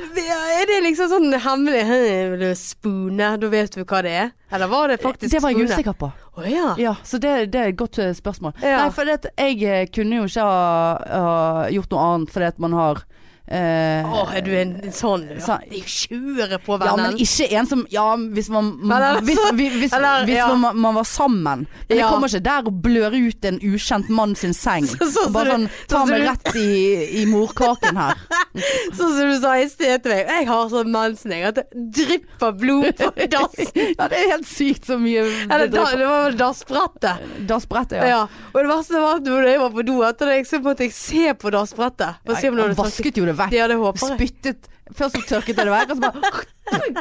[SPEAKER 2] Er det liksom sånn hemmelig «Hm, Vil du spoone? Da vet du hva det er? Eller var det faktisk
[SPEAKER 1] Det var jeg
[SPEAKER 2] spune?
[SPEAKER 1] usikker på.
[SPEAKER 2] Å ja.
[SPEAKER 1] Ja, så det, det er et godt eh, spørsmål.
[SPEAKER 2] Ja.
[SPEAKER 1] Nei, for det, at jeg eh, kunne jo ikke ha, ha gjort noe annet fordi at man har eh,
[SPEAKER 2] Å, er du en, en sånn? Ja.
[SPEAKER 1] Sa-
[SPEAKER 2] Jeg kjører
[SPEAKER 1] ja,
[SPEAKER 2] på vennen.
[SPEAKER 1] men ikke en som Ja, hvis man,
[SPEAKER 2] Eller-
[SPEAKER 1] hvis, hvis, hvis,
[SPEAKER 2] eller,
[SPEAKER 1] hvis
[SPEAKER 2] ja.
[SPEAKER 1] man, man var sammen. Men jeg
[SPEAKER 2] Ja.
[SPEAKER 1] kommer ikke der og blør ut en ukjent mann sin seng.
[SPEAKER 2] Så- sånn
[SPEAKER 1] og bare
[SPEAKER 2] som
[SPEAKER 1] sånn
[SPEAKER 2] du-
[SPEAKER 1] Ta
[SPEAKER 2] sånn som
[SPEAKER 1] meg
[SPEAKER 2] du-
[SPEAKER 1] rett i, i morkaken her.
[SPEAKER 2] Sånn som du sa i sted til meg. Jeg har sånn mensen, jeg. At det drypper blod på dassen.
[SPEAKER 1] Ja, det er helt sykt så mye
[SPEAKER 2] Eller da,
[SPEAKER 1] da-
[SPEAKER 2] det var vel dassbrettet.
[SPEAKER 1] Dassbrettet,
[SPEAKER 2] Ja.
[SPEAKER 1] ja.
[SPEAKER 2] Og det verste var at når jeg var på do etter det, så måtte jeg se på dassbrettet. For å se om det
[SPEAKER 1] Nei,
[SPEAKER 2] hadde
[SPEAKER 1] han vasket jo det vekk.
[SPEAKER 2] Ja, det håper jeg.
[SPEAKER 1] Spyttet Først så tørket jeg det vekk, og så bare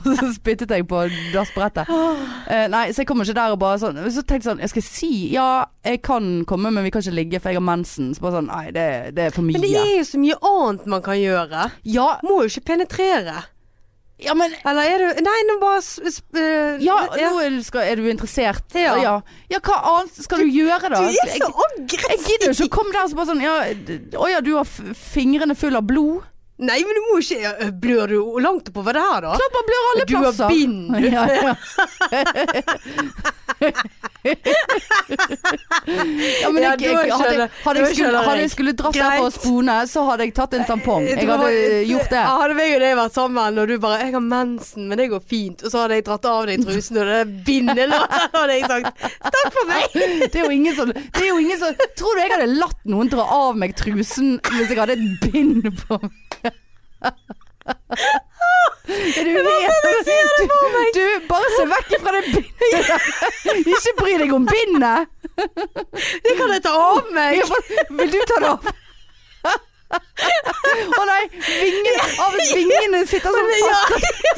[SPEAKER 1] Og så spyttet jeg på dassbrettet.
[SPEAKER 2] Ah.
[SPEAKER 1] Eh, nei, så jeg kommer ikke der og bare sånn Så tenkte jeg sånn Jeg skal si ja, jeg kan komme, men vi kan ikke ligge, for jeg har mensen. Så bare sånn Nei, det, det er for mye.
[SPEAKER 2] Men det er jo så mye annet man kan gjøre.
[SPEAKER 1] Ja,
[SPEAKER 2] Må jo ikke penetrere.
[SPEAKER 1] ja, men
[SPEAKER 2] Eller er du Nei, nå bare s- s- eh,
[SPEAKER 1] ja, nå er du, skal, er du interessert.
[SPEAKER 2] Ja.
[SPEAKER 1] ja. Ja, hva annet skal du gjøre, da?
[SPEAKER 2] Du er
[SPEAKER 1] Jeg- jeg
[SPEAKER 2] så
[SPEAKER 1] gidder jo ikke
[SPEAKER 2] aggressiv!
[SPEAKER 1] å komme der og så bare sånn ja, d- Å ja, du har f fingrene fulle av blod.
[SPEAKER 2] Nei, men du må jo ikke ja, Blør du langt oppover det her, da?
[SPEAKER 1] Klart man blør alle
[SPEAKER 2] Ah. Du har
[SPEAKER 1] plasser.
[SPEAKER 2] bind.
[SPEAKER 1] Ja, ja. ja, men
[SPEAKER 2] Ja,
[SPEAKER 1] jeg,
[SPEAKER 2] du
[SPEAKER 1] jeg,
[SPEAKER 2] skjønner-
[SPEAKER 1] hadde, jeg- hadde, jeg
[SPEAKER 2] du
[SPEAKER 1] skulle,
[SPEAKER 2] skjønner
[SPEAKER 1] hadde jeg
[SPEAKER 2] jeg.
[SPEAKER 1] skulle dratt der for å
[SPEAKER 2] Greit.
[SPEAKER 1] spone, så hadde jeg tatt en tampong. Jeg
[SPEAKER 2] tror
[SPEAKER 1] hadde
[SPEAKER 2] bare-
[SPEAKER 1] gjort det.
[SPEAKER 2] Ja, Hadde meg og deg vært sammen, og du bare 'Jeg har mensen, men det går fint', og så hadde jeg dratt av deg trusen, og det bindet lå der, hadde jeg sagt 'Takk for meg'.
[SPEAKER 1] Det er jo ingen som, det er jo ingen som Tror du jeg hadde latt noen dra av meg trusen hvis jeg hadde et bind på meg? Er Du, helt- du, du, bare se vekk fra det bindet. Ikke bry deg om bindet.
[SPEAKER 2] Det kan jeg ta av meg.
[SPEAKER 1] Jeg får- Vil du ta det opp? Å nei, vingene, av vingene sitter så
[SPEAKER 2] Men
[SPEAKER 1] fast,
[SPEAKER 2] ja,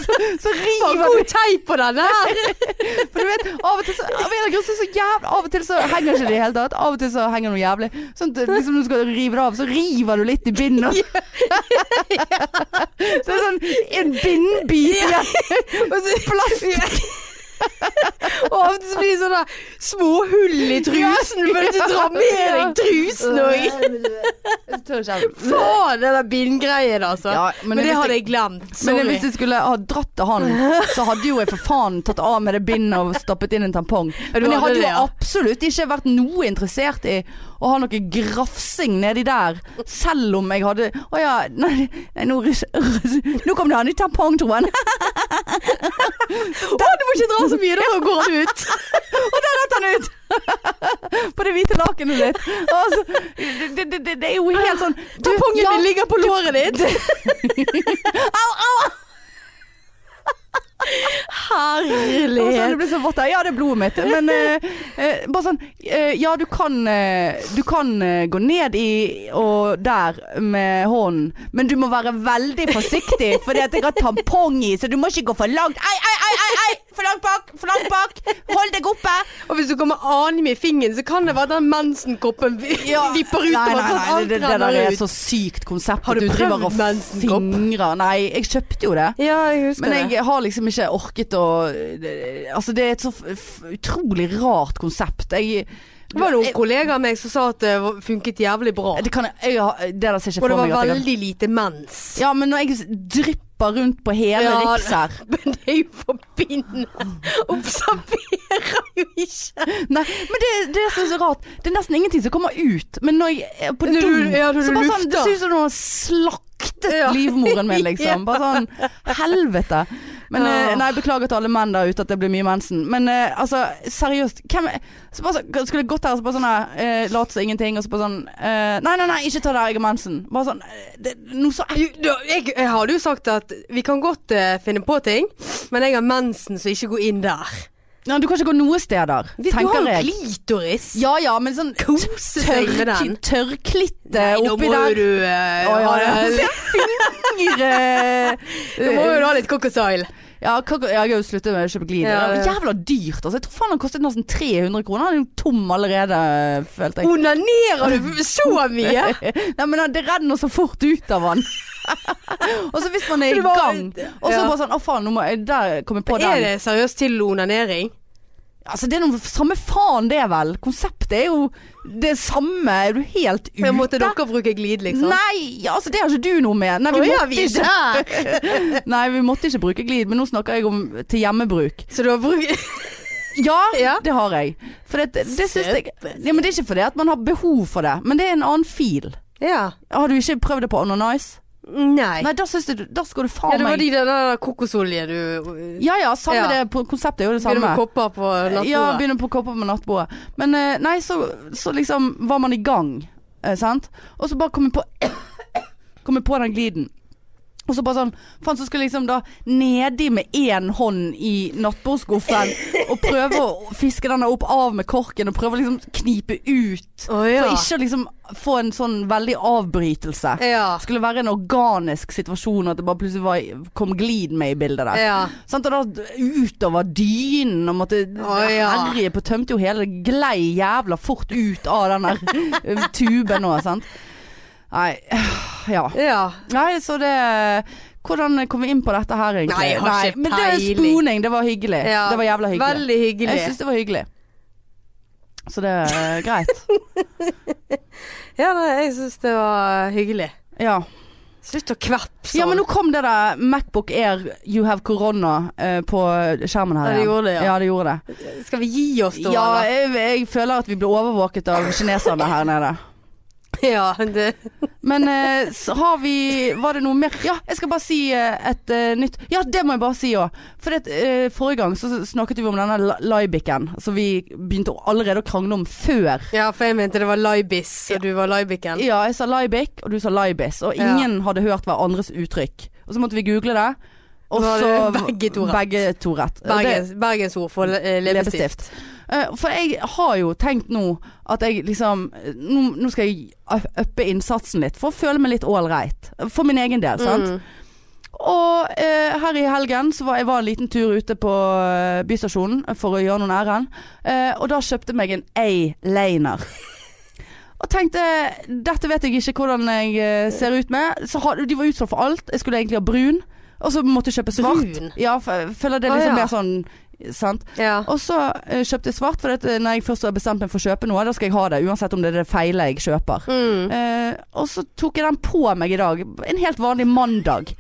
[SPEAKER 1] så
[SPEAKER 2] det var
[SPEAKER 1] river
[SPEAKER 2] god
[SPEAKER 1] du.
[SPEAKER 2] teip på denne her.
[SPEAKER 1] For du vet, av og til så, av en eller annen grunn så, er det så jævlig, av og til så henger ikke det i det hele tatt. Av og til så henger noe jævlig. Sånn at liksom når du skal rive det av, så river du litt i bindet. og- Så det er sånn en bindbit igjen. Og så plast.
[SPEAKER 2] Og ofte så blir det sånne små hull i trusen, men du drar med deg trusen og
[SPEAKER 1] Jeg tør ikke.
[SPEAKER 2] Faen, det der bindgreien, altså.
[SPEAKER 1] Ja, men
[SPEAKER 2] men,
[SPEAKER 1] det
[SPEAKER 2] det
[SPEAKER 1] visste
[SPEAKER 2] hadde
[SPEAKER 1] jeg-
[SPEAKER 2] jeg glemt.
[SPEAKER 1] Men
[SPEAKER 2] Sorry.
[SPEAKER 1] hvis jeg skulle ha dratt til han, så hadde jo jeg for faen tatt av meg det bindet og stappet inn en tampong.
[SPEAKER 2] Ja, du
[SPEAKER 1] Men jeg
[SPEAKER 2] hadde
[SPEAKER 1] hadde
[SPEAKER 2] det,
[SPEAKER 1] jo
[SPEAKER 2] ja.
[SPEAKER 1] absolutt ikke vært noe interessert i å ha noe grafsing nedi der, selv om jeg hadde Å ja, nei, nei nå, rus, rus, nå kom det an i tampongtroen.
[SPEAKER 2] Å, du må ikke dra så mye, da går han ut.
[SPEAKER 1] Rett han ut! På det hvite lakenet ditt. Altså, det, det, det, det er jo helt sånn du,
[SPEAKER 2] Tampongen
[SPEAKER 1] ja,
[SPEAKER 2] din ligger på låret ditt.
[SPEAKER 1] Og så det
[SPEAKER 2] Herlighet.
[SPEAKER 1] blir så vått der. Ja, det er blodet mitt. Men eh, eh, bare sånn eh, Ja, du kan, eh, du kan eh, gå ned i og der med hånden, men du må være veldig forsiktig, fordi at jeg har tampong i, så du må ikke gå for langt. Ei, ei, ei, ei, ei! For langt bak! For langt bak! Hold deg oppe!
[SPEAKER 2] Og hvis du kommer anim i fingeren, så kan det være den mensenkoppen vi- vipper
[SPEAKER 1] Nei,
[SPEAKER 2] utover.
[SPEAKER 1] nei,
[SPEAKER 2] sånn
[SPEAKER 1] nei,
[SPEAKER 2] at alt
[SPEAKER 1] det, det der
[SPEAKER 2] renner
[SPEAKER 1] er
[SPEAKER 2] ut.
[SPEAKER 1] så sykt konsept.
[SPEAKER 2] Har
[SPEAKER 1] at
[SPEAKER 2] du
[SPEAKER 1] driver
[SPEAKER 2] prøvd
[SPEAKER 1] og
[SPEAKER 2] mensenkopp?
[SPEAKER 1] fingrer? Nei, jeg kjøpte jo det.
[SPEAKER 2] Ja, jeg husker
[SPEAKER 1] Men
[SPEAKER 2] det.
[SPEAKER 1] jeg har liksom ikke orket å Altså, det er et så f f utrolig rart konsept. Jeg
[SPEAKER 2] Det var noen kollegaer av meg som sa at det var- funket jævlig bra.
[SPEAKER 1] Det, kan jeg, jeg, har- det der ser ikke
[SPEAKER 2] Og det
[SPEAKER 1] for
[SPEAKER 2] var
[SPEAKER 1] meg at jeg kan
[SPEAKER 2] veldig lite mens.
[SPEAKER 1] Ja, men når jeg s- drypper rundt på hele
[SPEAKER 2] Ja,
[SPEAKER 1] Riks her
[SPEAKER 2] Men det er jo forbindende. Observerer jo ikke.
[SPEAKER 1] Nei, men det, det er så, så rart. Det er nesten ingenting som kommer ut. Men når jeg er på
[SPEAKER 2] Når
[SPEAKER 1] do,
[SPEAKER 2] du- ja, når
[SPEAKER 1] så
[SPEAKER 2] du
[SPEAKER 1] bare sånn Det
[SPEAKER 2] lufter.
[SPEAKER 1] ser ut som noen har slaktet
[SPEAKER 2] Ja.
[SPEAKER 1] livmoren min, liksom. Bare sånn helvete. Men
[SPEAKER 2] Ja.
[SPEAKER 1] eh, Nei, beklager til alle menn der ute at det blir mye mensen. Men eh, altså, seriøst. Hvem er- så bare, sånn- Skulle jeg gått her og så bare sånn eh, Late som ingenting, og så bare sånn eh, Nei, nei, nei, ikke ta det, jeg har mensen. Bare sånn eh, det, Noe så ekkelt.
[SPEAKER 2] Jo, da- Jeg, jeg hadde jo sagt at vi kan godt eh, finne på ting, men jeg har mensen, så ikke gå inn der.
[SPEAKER 1] Ja, du kan ikke gå noen steder,
[SPEAKER 2] Vi, du har
[SPEAKER 1] tenker
[SPEAKER 2] jo
[SPEAKER 1] jeg.
[SPEAKER 2] klitoris.
[SPEAKER 1] Ja ja, men sånn
[SPEAKER 2] Kose seg med den.
[SPEAKER 1] tørk- tørrklitte
[SPEAKER 2] Nei, nå
[SPEAKER 1] oppi
[SPEAKER 2] må
[SPEAKER 1] der.
[SPEAKER 2] jo du eh,
[SPEAKER 1] Å, ja,
[SPEAKER 2] ha
[SPEAKER 1] ja.
[SPEAKER 2] det.
[SPEAKER 1] Fingre
[SPEAKER 2] Du må jo ha litt cocktail.
[SPEAKER 1] Ja, hva- jeg har jo sluttet med å kjøpe glid.
[SPEAKER 2] Ja,
[SPEAKER 1] det var
[SPEAKER 2] ja.
[SPEAKER 1] jævla dyrt. Altså. Jeg tror faen han kostet nesten 300 kroner. Han er jo tom allerede, følte jeg.
[SPEAKER 2] Onanerer du så mye?
[SPEAKER 1] Nei, men han- det renner så fort ut av han. og så hvis man er i
[SPEAKER 2] Det var-
[SPEAKER 1] gang, og så
[SPEAKER 2] Ja.
[SPEAKER 1] bare sånn Å, faen, nå må jeg Der kom jeg på
[SPEAKER 2] Er
[SPEAKER 1] den.
[SPEAKER 2] det seriøst til onanering?
[SPEAKER 1] Altså, det er noe samme faen, det, vel. Konseptet er jo det samme. Er du helt ute?
[SPEAKER 2] Men måtte dere bruke glid, liksom?
[SPEAKER 1] Nei, ja, altså det har ikke du noe med. Nei, vi,
[SPEAKER 2] Å, ja,
[SPEAKER 1] måtte
[SPEAKER 2] vi er
[SPEAKER 1] ikke,
[SPEAKER 2] der.
[SPEAKER 1] nei, vi måtte ikke bruke glid, men nå snakker jeg om til hjemmebruk.
[SPEAKER 2] Så du har brukt
[SPEAKER 1] Ja,
[SPEAKER 2] Ja.
[SPEAKER 1] det har jeg. For det, det syns jeg ja, men Det er ikke fordi at man har behov for det, men det er en annen fil.
[SPEAKER 2] Ja.
[SPEAKER 1] Har du ikke prøvd det på Onanize?
[SPEAKER 2] Nei.
[SPEAKER 1] Nei, da syns jeg du Da skal du faen
[SPEAKER 2] Ja, det var
[SPEAKER 1] meg
[SPEAKER 2] de der, der kokosolje du øh,
[SPEAKER 1] Ja ja, samme
[SPEAKER 2] Ja.
[SPEAKER 1] det. på- Konseptet er jo det samme.
[SPEAKER 2] Begynner med kopper på nattbordet.
[SPEAKER 1] Ja, begynner på kopper med nattbordet. Men eh, nei, så, så liksom var man i gang, eh, sant. Og så bare kom jeg på Kom jeg på den gliden. Og så bare sånn Faen, så skal jeg liksom da nedi med én hånd i nattbordskuffen og prøve å fiske den der opp av med korken og prøve å liksom knipe ut.
[SPEAKER 2] Å, ja.
[SPEAKER 1] For ikke å liksom få en sånn veldig avbrytelse.
[SPEAKER 2] Ja.
[SPEAKER 1] Det skulle være en organisk situasjon at det bare plutselig var, kom glid med i bildet der.
[SPEAKER 2] ja.
[SPEAKER 1] Sant, og da utover dynen og måtte
[SPEAKER 2] Å, ja.
[SPEAKER 1] herje på Tømte jo hele det glei jævla fort ut av den der eh, tuben nå, sant. Nei, ja.
[SPEAKER 2] Ja.
[SPEAKER 1] Nei, så det Hvordan kom vi inn på dette her, egentlig?
[SPEAKER 2] Nei, jeg har ikke
[SPEAKER 1] men det er
[SPEAKER 2] peiling.
[SPEAKER 1] sponing. Det var hyggelig.
[SPEAKER 2] ja.
[SPEAKER 1] Det var jævla hyggelig.
[SPEAKER 2] Veldig hyggelig.
[SPEAKER 1] Jeg syns det var hyggelig. Så det er eh, greit.
[SPEAKER 2] Ja, nei, jeg syns det var hyggelig.
[SPEAKER 1] Ja.
[SPEAKER 2] Slutt å kveppe sånn.
[SPEAKER 1] ja, men nå kom det der Macbook Air You Have Corona eh, på skjermen her
[SPEAKER 2] Ja, det gjorde det, ja.
[SPEAKER 1] ja, det gjorde det.
[SPEAKER 2] Skal vi gi oss da?
[SPEAKER 1] Ja,
[SPEAKER 2] eller?
[SPEAKER 1] jeg, jeg føler at vi blir overvåket av kineserne her nede.
[SPEAKER 2] ja det,
[SPEAKER 1] Men eh, så har vi Var det noe mer Ja, jeg skal bare si eh, et eh, nytt Ja, det må jeg bare si òg. For det, eh, forrige gang så snakket vi om denne la- Laibiken, som vi begynte allerede å krangle om før.
[SPEAKER 2] ja, for jeg mente det var Laibis, og du var Laibiken.
[SPEAKER 1] Ja, jeg sa Laibik, og du sa Laibis, og
[SPEAKER 2] Ja.
[SPEAKER 1] ingen hadde hørt hverandres uttrykk. Og så måtte vi google det, og
[SPEAKER 2] Så
[SPEAKER 1] så
[SPEAKER 2] hadde begge to rett.
[SPEAKER 1] Begge to rett. Og det-
[SPEAKER 2] Bergens, Bergensord for eh, leppestift.
[SPEAKER 1] leppestift. Eh, for jeg har jo tenkt nå at jeg liksom Nå, nå skal jeg uppe innsatsen litt for å føle meg litt ålreit. For min egen del, sant.
[SPEAKER 2] Mm.
[SPEAKER 1] Og eh, her i helgen så var jeg var en liten tur ute på eh, bystasjonen for å gjøre noen ærend. Eh, og da kjøpte jeg meg en A-laner. Og tenkte dette vet jeg ikke hvordan jeg eh, ser ut med. Så har, de var utsolgt for alt. Jeg skulle egentlig ha brun, og så måtte jeg kjøpe svart.
[SPEAKER 2] Brun?
[SPEAKER 1] Ja, for jeg føler det er
[SPEAKER 2] Å,
[SPEAKER 1] liksom
[SPEAKER 2] ja.
[SPEAKER 1] mer sånn Sant.
[SPEAKER 2] Ja.
[SPEAKER 1] Og så eh, kjøpte jeg svart, for at, eh, når jeg først har bestemt meg for å kjøpe noe, da skal jeg ha det. Uansett om det er det feile jeg kjøper.
[SPEAKER 2] Mm.
[SPEAKER 1] Eh, og så tok jeg den på meg i dag. En helt vanlig mandag.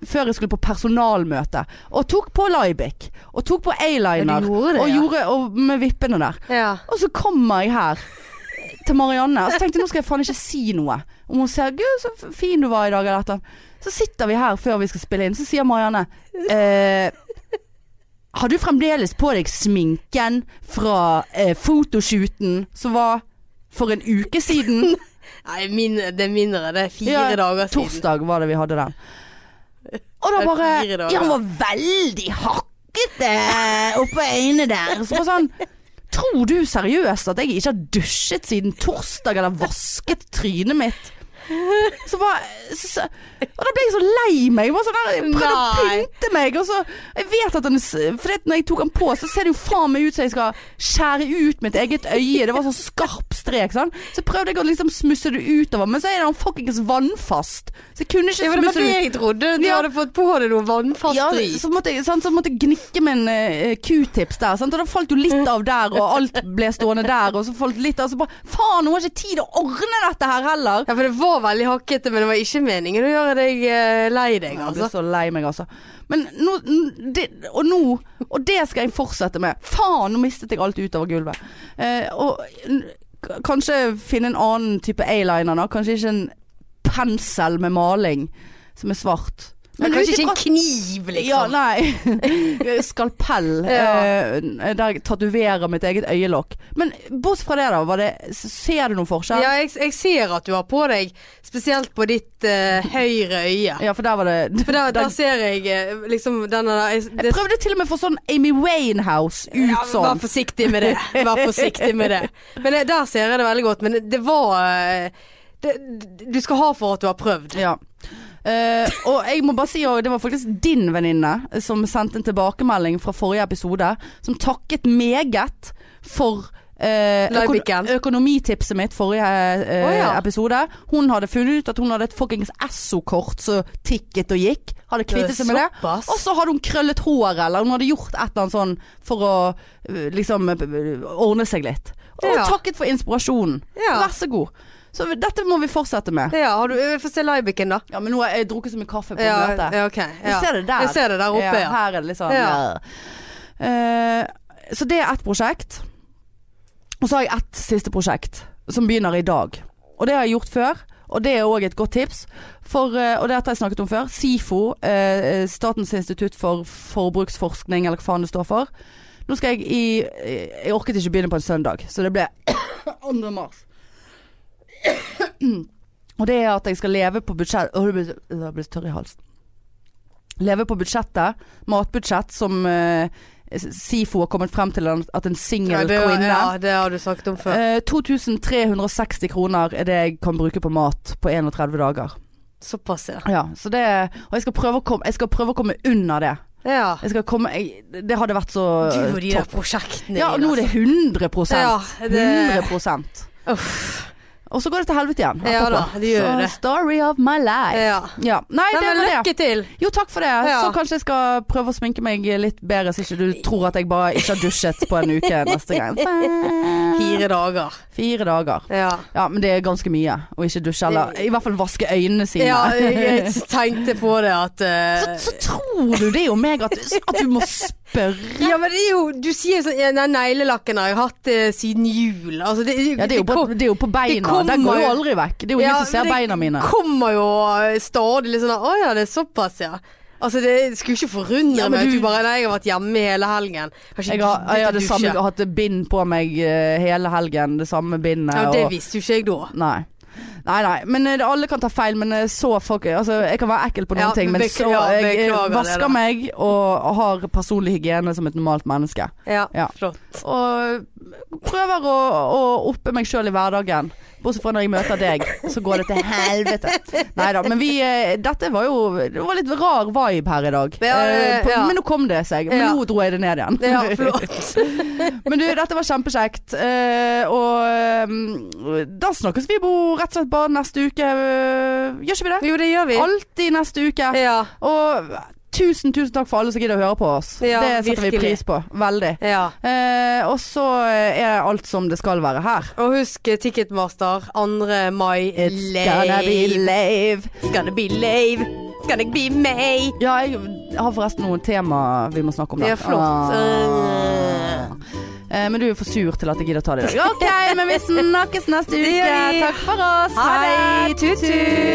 [SPEAKER 1] Før jeg skulle på personalmøte. Og tok på Laibik. Og tok på
[SPEAKER 2] Ja,
[SPEAKER 1] A-liner.
[SPEAKER 2] du gjorde det,
[SPEAKER 1] og
[SPEAKER 2] ja.
[SPEAKER 1] gjorde og med vippene der.
[SPEAKER 2] ja.
[SPEAKER 1] Og så kommer jeg her til Marianne, og så tenkte jeg nå skal jeg faen ikke si noe. Om hun ser 'Gud, så f- fin du var i dag', eller et eller annet. Så sitter vi her før vi skal spille inn, så sier Marianne eh, Har du fremdeles på deg sminken fra eh, fotoshooten som var for en uke siden?
[SPEAKER 2] Nei, min, det er mindre. Det er fire
[SPEAKER 1] Ja,
[SPEAKER 2] dager siden.
[SPEAKER 1] Torsdag var det vi hadde den. Og da
[SPEAKER 2] Det er
[SPEAKER 1] bare
[SPEAKER 2] fire dager.
[SPEAKER 1] Ja, han var veldig hakkete oppå øynene der. Så bare sånn Tror du seriøst at jeg ikke har dusjet siden torsdag eller vasket trynet mitt? Så bare så, så- Og da ble jeg så lei meg. Jeg var sånn der, jeg prøvde å
[SPEAKER 2] Nei.
[SPEAKER 1] pynte meg. Og så, jeg vet at den, s- for det, at når jeg tok den på, så ser det jo faen meg ut som jeg skal skjære ut mitt eget øye. Det var sånn skarp strek. Sånn. Så prøvde jeg å liksom smusse det utover, men så er den fuckings vannfast. Så jeg kunne ikke
[SPEAKER 2] Ja, men det
[SPEAKER 1] smusse
[SPEAKER 2] var det
[SPEAKER 1] det ut.
[SPEAKER 2] jeg trodde. Du
[SPEAKER 1] Ja.
[SPEAKER 2] hadde fått på deg noe vannfast
[SPEAKER 1] Ja,
[SPEAKER 2] drit.
[SPEAKER 1] så måtte, jeg, sant, så måtte jeg gnikke med en eh, q-tips der, sant? og da falt jo litt av der, og alt ble stående der, og så falt litt av, så bare faen, hun har ikke tid å ordne dette her heller.
[SPEAKER 2] Ja, for det var veldig hakkete, men det var ikke meningen å gjøre deg eh, lei deg,
[SPEAKER 1] Jeg
[SPEAKER 2] altså.
[SPEAKER 1] blir så lei meg, altså. Men nå, n- det, og nå Og det skal jeg fortsette med. Faen, nå mistet jeg alt utover gulvet. Eh, og n- k- kanskje finne en annen type A-liner, da. Kanskje ikke en pensel med maling som er svart.
[SPEAKER 2] Men
[SPEAKER 1] ut
[SPEAKER 2] kanskje ikke
[SPEAKER 1] ifra-
[SPEAKER 2] en kniv,
[SPEAKER 1] Ja,
[SPEAKER 2] liksom.
[SPEAKER 1] nei. Skalpell.
[SPEAKER 2] Ja.
[SPEAKER 1] eh, der jeg tatoverer mitt eget øyelokk. Men bortsett fra det, da. Var det, s- ser du noen
[SPEAKER 2] Ja,
[SPEAKER 1] forskjell?
[SPEAKER 2] jeg, jeg ser at du har på deg, spesielt på ditt eh, høyre øye.
[SPEAKER 1] Ja, for der var det
[SPEAKER 2] For der, der ser jeg eh, liksom denne der jeg-
[SPEAKER 1] Jeg
[SPEAKER 2] det-
[SPEAKER 1] prøvde til og med å få sånn Amy Winehouse ut
[SPEAKER 2] Ja,
[SPEAKER 1] sånn.
[SPEAKER 2] Vær forsiktig med det. Vær forsiktig med det. Men eh, der ser jeg det veldig godt. Men det var eh, det, Du skal ha for at du har prøvd.
[SPEAKER 1] Ja. Eh, og jeg må bare si også, det var faktisk din venninne som sendte en tilbakemelding fra forrige episode, som takket meget for eh, øko-
[SPEAKER 2] Laibiken.
[SPEAKER 1] økonomitipset mitt forrige eh,
[SPEAKER 2] Å, ja.
[SPEAKER 1] episode. Hun hadde funnet ut at hun hadde et fuckings Esso-kort som tikket og gikk. Hadde kvittet seg med det.
[SPEAKER 2] Såpass.
[SPEAKER 1] Og så hadde hun krøllet håret, eller hun hadde gjort et eller annet sånn for å eh, liksom eh, ordne seg litt. Og
[SPEAKER 2] Ja.
[SPEAKER 1] takket for inspirasjonen.
[SPEAKER 2] Ja.
[SPEAKER 1] Vær så god. Så dette må vi fortsette med.
[SPEAKER 2] Ja, har du, vi får se Laibiken, da.
[SPEAKER 1] Ja, men nå har jeg drukket så mye kaffe på
[SPEAKER 2] Ja,
[SPEAKER 1] møtet.
[SPEAKER 2] ja, ok. Ja.
[SPEAKER 1] Du ser det der.
[SPEAKER 2] Jeg ser det der oppe, ja.
[SPEAKER 1] Her er det litt sånn
[SPEAKER 2] Ja.
[SPEAKER 1] Eh, Så det er ett prosjekt. Og så har jeg ett siste prosjekt, som begynner i dag. Og det har jeg gjort før. Og det er òg et godt tips. For, eh, og dette har jeg snakket om før. SIFO, eh, Statens institutt for forbruksforskning, eller hva faen det står for. Nå skal jeg i eh, Jeg orket ikke begynne på en søndag, så det ble 2. mars. Og det er at jeg skal leve på budsjett Åh, det blir- det blir tørr i halsen. Leve på budsjettet, matbudsjett, som eh, SIFO har kommet frem til at en
[SPEAKER 2] Ja,
[SPEAKER 1] singel
[SPEAKER 2] det, var-
[SPEAKER 1] kvinne
[SPEAKER 2] ja, det har du sagt om før.
[SPEAKER 1] Eh, 2360 kroner er det jeg kan bruke på mat på 31 dager.
[SPEAKER 2] Såpass, ja.
[SPEAKER 1] Ja, så det, og jeg skal, prøve å komme, jeg skal prøve å komme under det.
[SPEAKER 2] ja.
[SPEAKER 1] Jeg skal komme, jeg, det hadde vært så
[SPEAKER 2] Du og de der
[SPEAKER 1] Eh, topp.
[SPEAKER 2] prosjektene altså.
[SPEAKER 1] Ja, og nå er det 100
[SPEAKER 2] Ja, det
[SPEAKER 1] 100
[SPEAKER 2] Uff.
[SPEAKER 1] Og så går det til helvete igjen.
[SPEAKER 2] Ja
[SPEAKER 1] etterpå.
[SPEAKER 2] da, det gjør
[SPEAKER 1] så
[SPEAKER 2] det.
[SPEAKER 1] story of my life.
[SPEAKER 2] Ja.
[SPEAKER 1] Ja. Nei,
[SPEAKER 2] Nei,
[SPEAKER 1] det
[SPEAKER 2] men
[SPEAKER 1] var det.
[SPEAKER 2] lykke til.
[SPEAKER 1] Jo, takk for det.
[SPEAKER 2] Ja.
[SPEAKER 1] Så kanskje jeg skal prøve å sminke meg litt bedre, så ikke du tror at jeg bare ikke har dusjet på en uke neste gang.
[SPEAKER 2] Fire dager.
[SPEAKER 1] Fire dager.
[SPEAKER 2] Ja.
[SPEAKER 1] Ja, men det er ganske mye å ikke dusje, eller i hvert fall vaske øynene sine.
[SPEAKER 2] ja, jeg tenkte på det at
[SPEAKER 1] så,
[SPEAKER 2] eh,
[SPEAKER 1] så tror du det er jo meg at, at du må spørre.
[SPEAKER 2] Ja, men det er jo Du sier sånn ja, Den neglelakken har jeg hatt eh, siden jul. Altså, det,
[SPEAKER 1] Ja, det er jo på,
[SPEAKER 2] kom-
[SPEAKER 1] det er jo på beina.
[SPEAKER 2] kommer
[SPEAKER 1] Den går jo
[SPEAKER 2] jo-
[SPEAKER 1] aldri vekk. Det er jo ingen
[SPEAKER 2] Ja,
[SPEAKER 1] som ser
[SPEAKER 2] men det
[SPEAKER 1] beina mine.
[SPEAKER 2] kommer jo eh, stadig litt sånn Å ja, det er såpass, ja. Altså, det skulle ikke forundre
[SPEAKER 1] Ja, men
[SPEAKER 2] meg at
[SPEAKER 1] du-
[SPEAKER 2] du bare Nei, jeg har vært hjemme hele helgen. Har
[SPEAKER 1] Jeg har, jeg har det samme,
[SPEAKER 2] ja,
[SPEAKER 1] hatt bind på meg eh, hele helgen, det samme bindet.
[SPEAKER 2] Det
[SPEAKER 1] og-
[SPEAKER 2] visste jo ikke jeg da.
[SPEAKER 1] Nei. Nei, nei, men eh, alle kan ta feil, men eh, så fuck altså, Jeg kan være ekkel på noen
[SPEAKER 2] Ja,
[SPEAKER 1] ting, men
[SPEAKER 2] bekl-
[SPEAKER 1] så
[SPEAKER 2] ja,
[SPEAKER 1] Jeg eh,
[SPEAKER 2] beklager det,
[SPEAKER 1] vasker
[SPEAKER 2] da.
[SPEAKER 1] meg og har personlig hygiene som et normalt menneske.
[SPEAKER 2] Ja,
[SPEAKER 1] Ja.
[SPEAKER 2] flott.
[SPEAKER 1] Og prøver å, å oppe meg sjøl i hverdagen. Bortsett fra når jeg møter deg, så går det til helvete. Nei da, men vi eh, Dette var jo Det var litt rar vibe her i dag.
[SPEAKER 2] Ja,
[SPEAKER 1] Eh, på,
[SPEAKER 2] ja.
[SPEAKER 1] Men nå kom det seg. Men
[SPEAKER 2] Ja.
[SPEAKER 1] nå dro jeg det ned igjen.
[SPEAKER 2] Ja, flott.
[SPEAKER 1] Men du, dette var kjempekjekt. eh, og mm, da snakkes vi bo rett og slett bare neste uke. eh, Gjør ikke vi det?
[SPEAKER 2] Jo, det gjør vi.
[SPEAKER 1] Alltid neste uke.
[SPEAKER 2] Ja.
[SPEAKER 1] Og tusen, tusen takk for alle som gidder å høre på oss.
[SPEAKER 2] Ja,
[SPEAKER 1] det setter
[SPEAKER 2] virkelig.
[SPEAKER 1] vi pris på. Veldig.
[SPEAKER 2] ja.
[SPEAKER 1] Eh, og så er alt som det skal være her.
[SPEAKER 2] Og husk eh, Ticketmaster 2. mai.
[SPEAKER 1] It's gonna be lave.
[SPEAKER 2] It's gonna be lave. It's gonna be May.
[SPEAKER 1] Ja, jeg har forresten noen tema vi må snakke om. da.
[SPEAKER 2] Ja, flott. Eh,
[SPEAKER 1] Ah. Eh, men du er for sur til at jeg gidder å ta det i dag. OK, men vi snakkes neste
[SPEAKER 2] Det
[SPEAKER 1] uke.
[SPEAKER 2] gjør vi.
[SPEAKER 1] Takk for oss.
[SPEAKER 2] Ha det.
[SPEAKER 1] Hei. Tut-tut.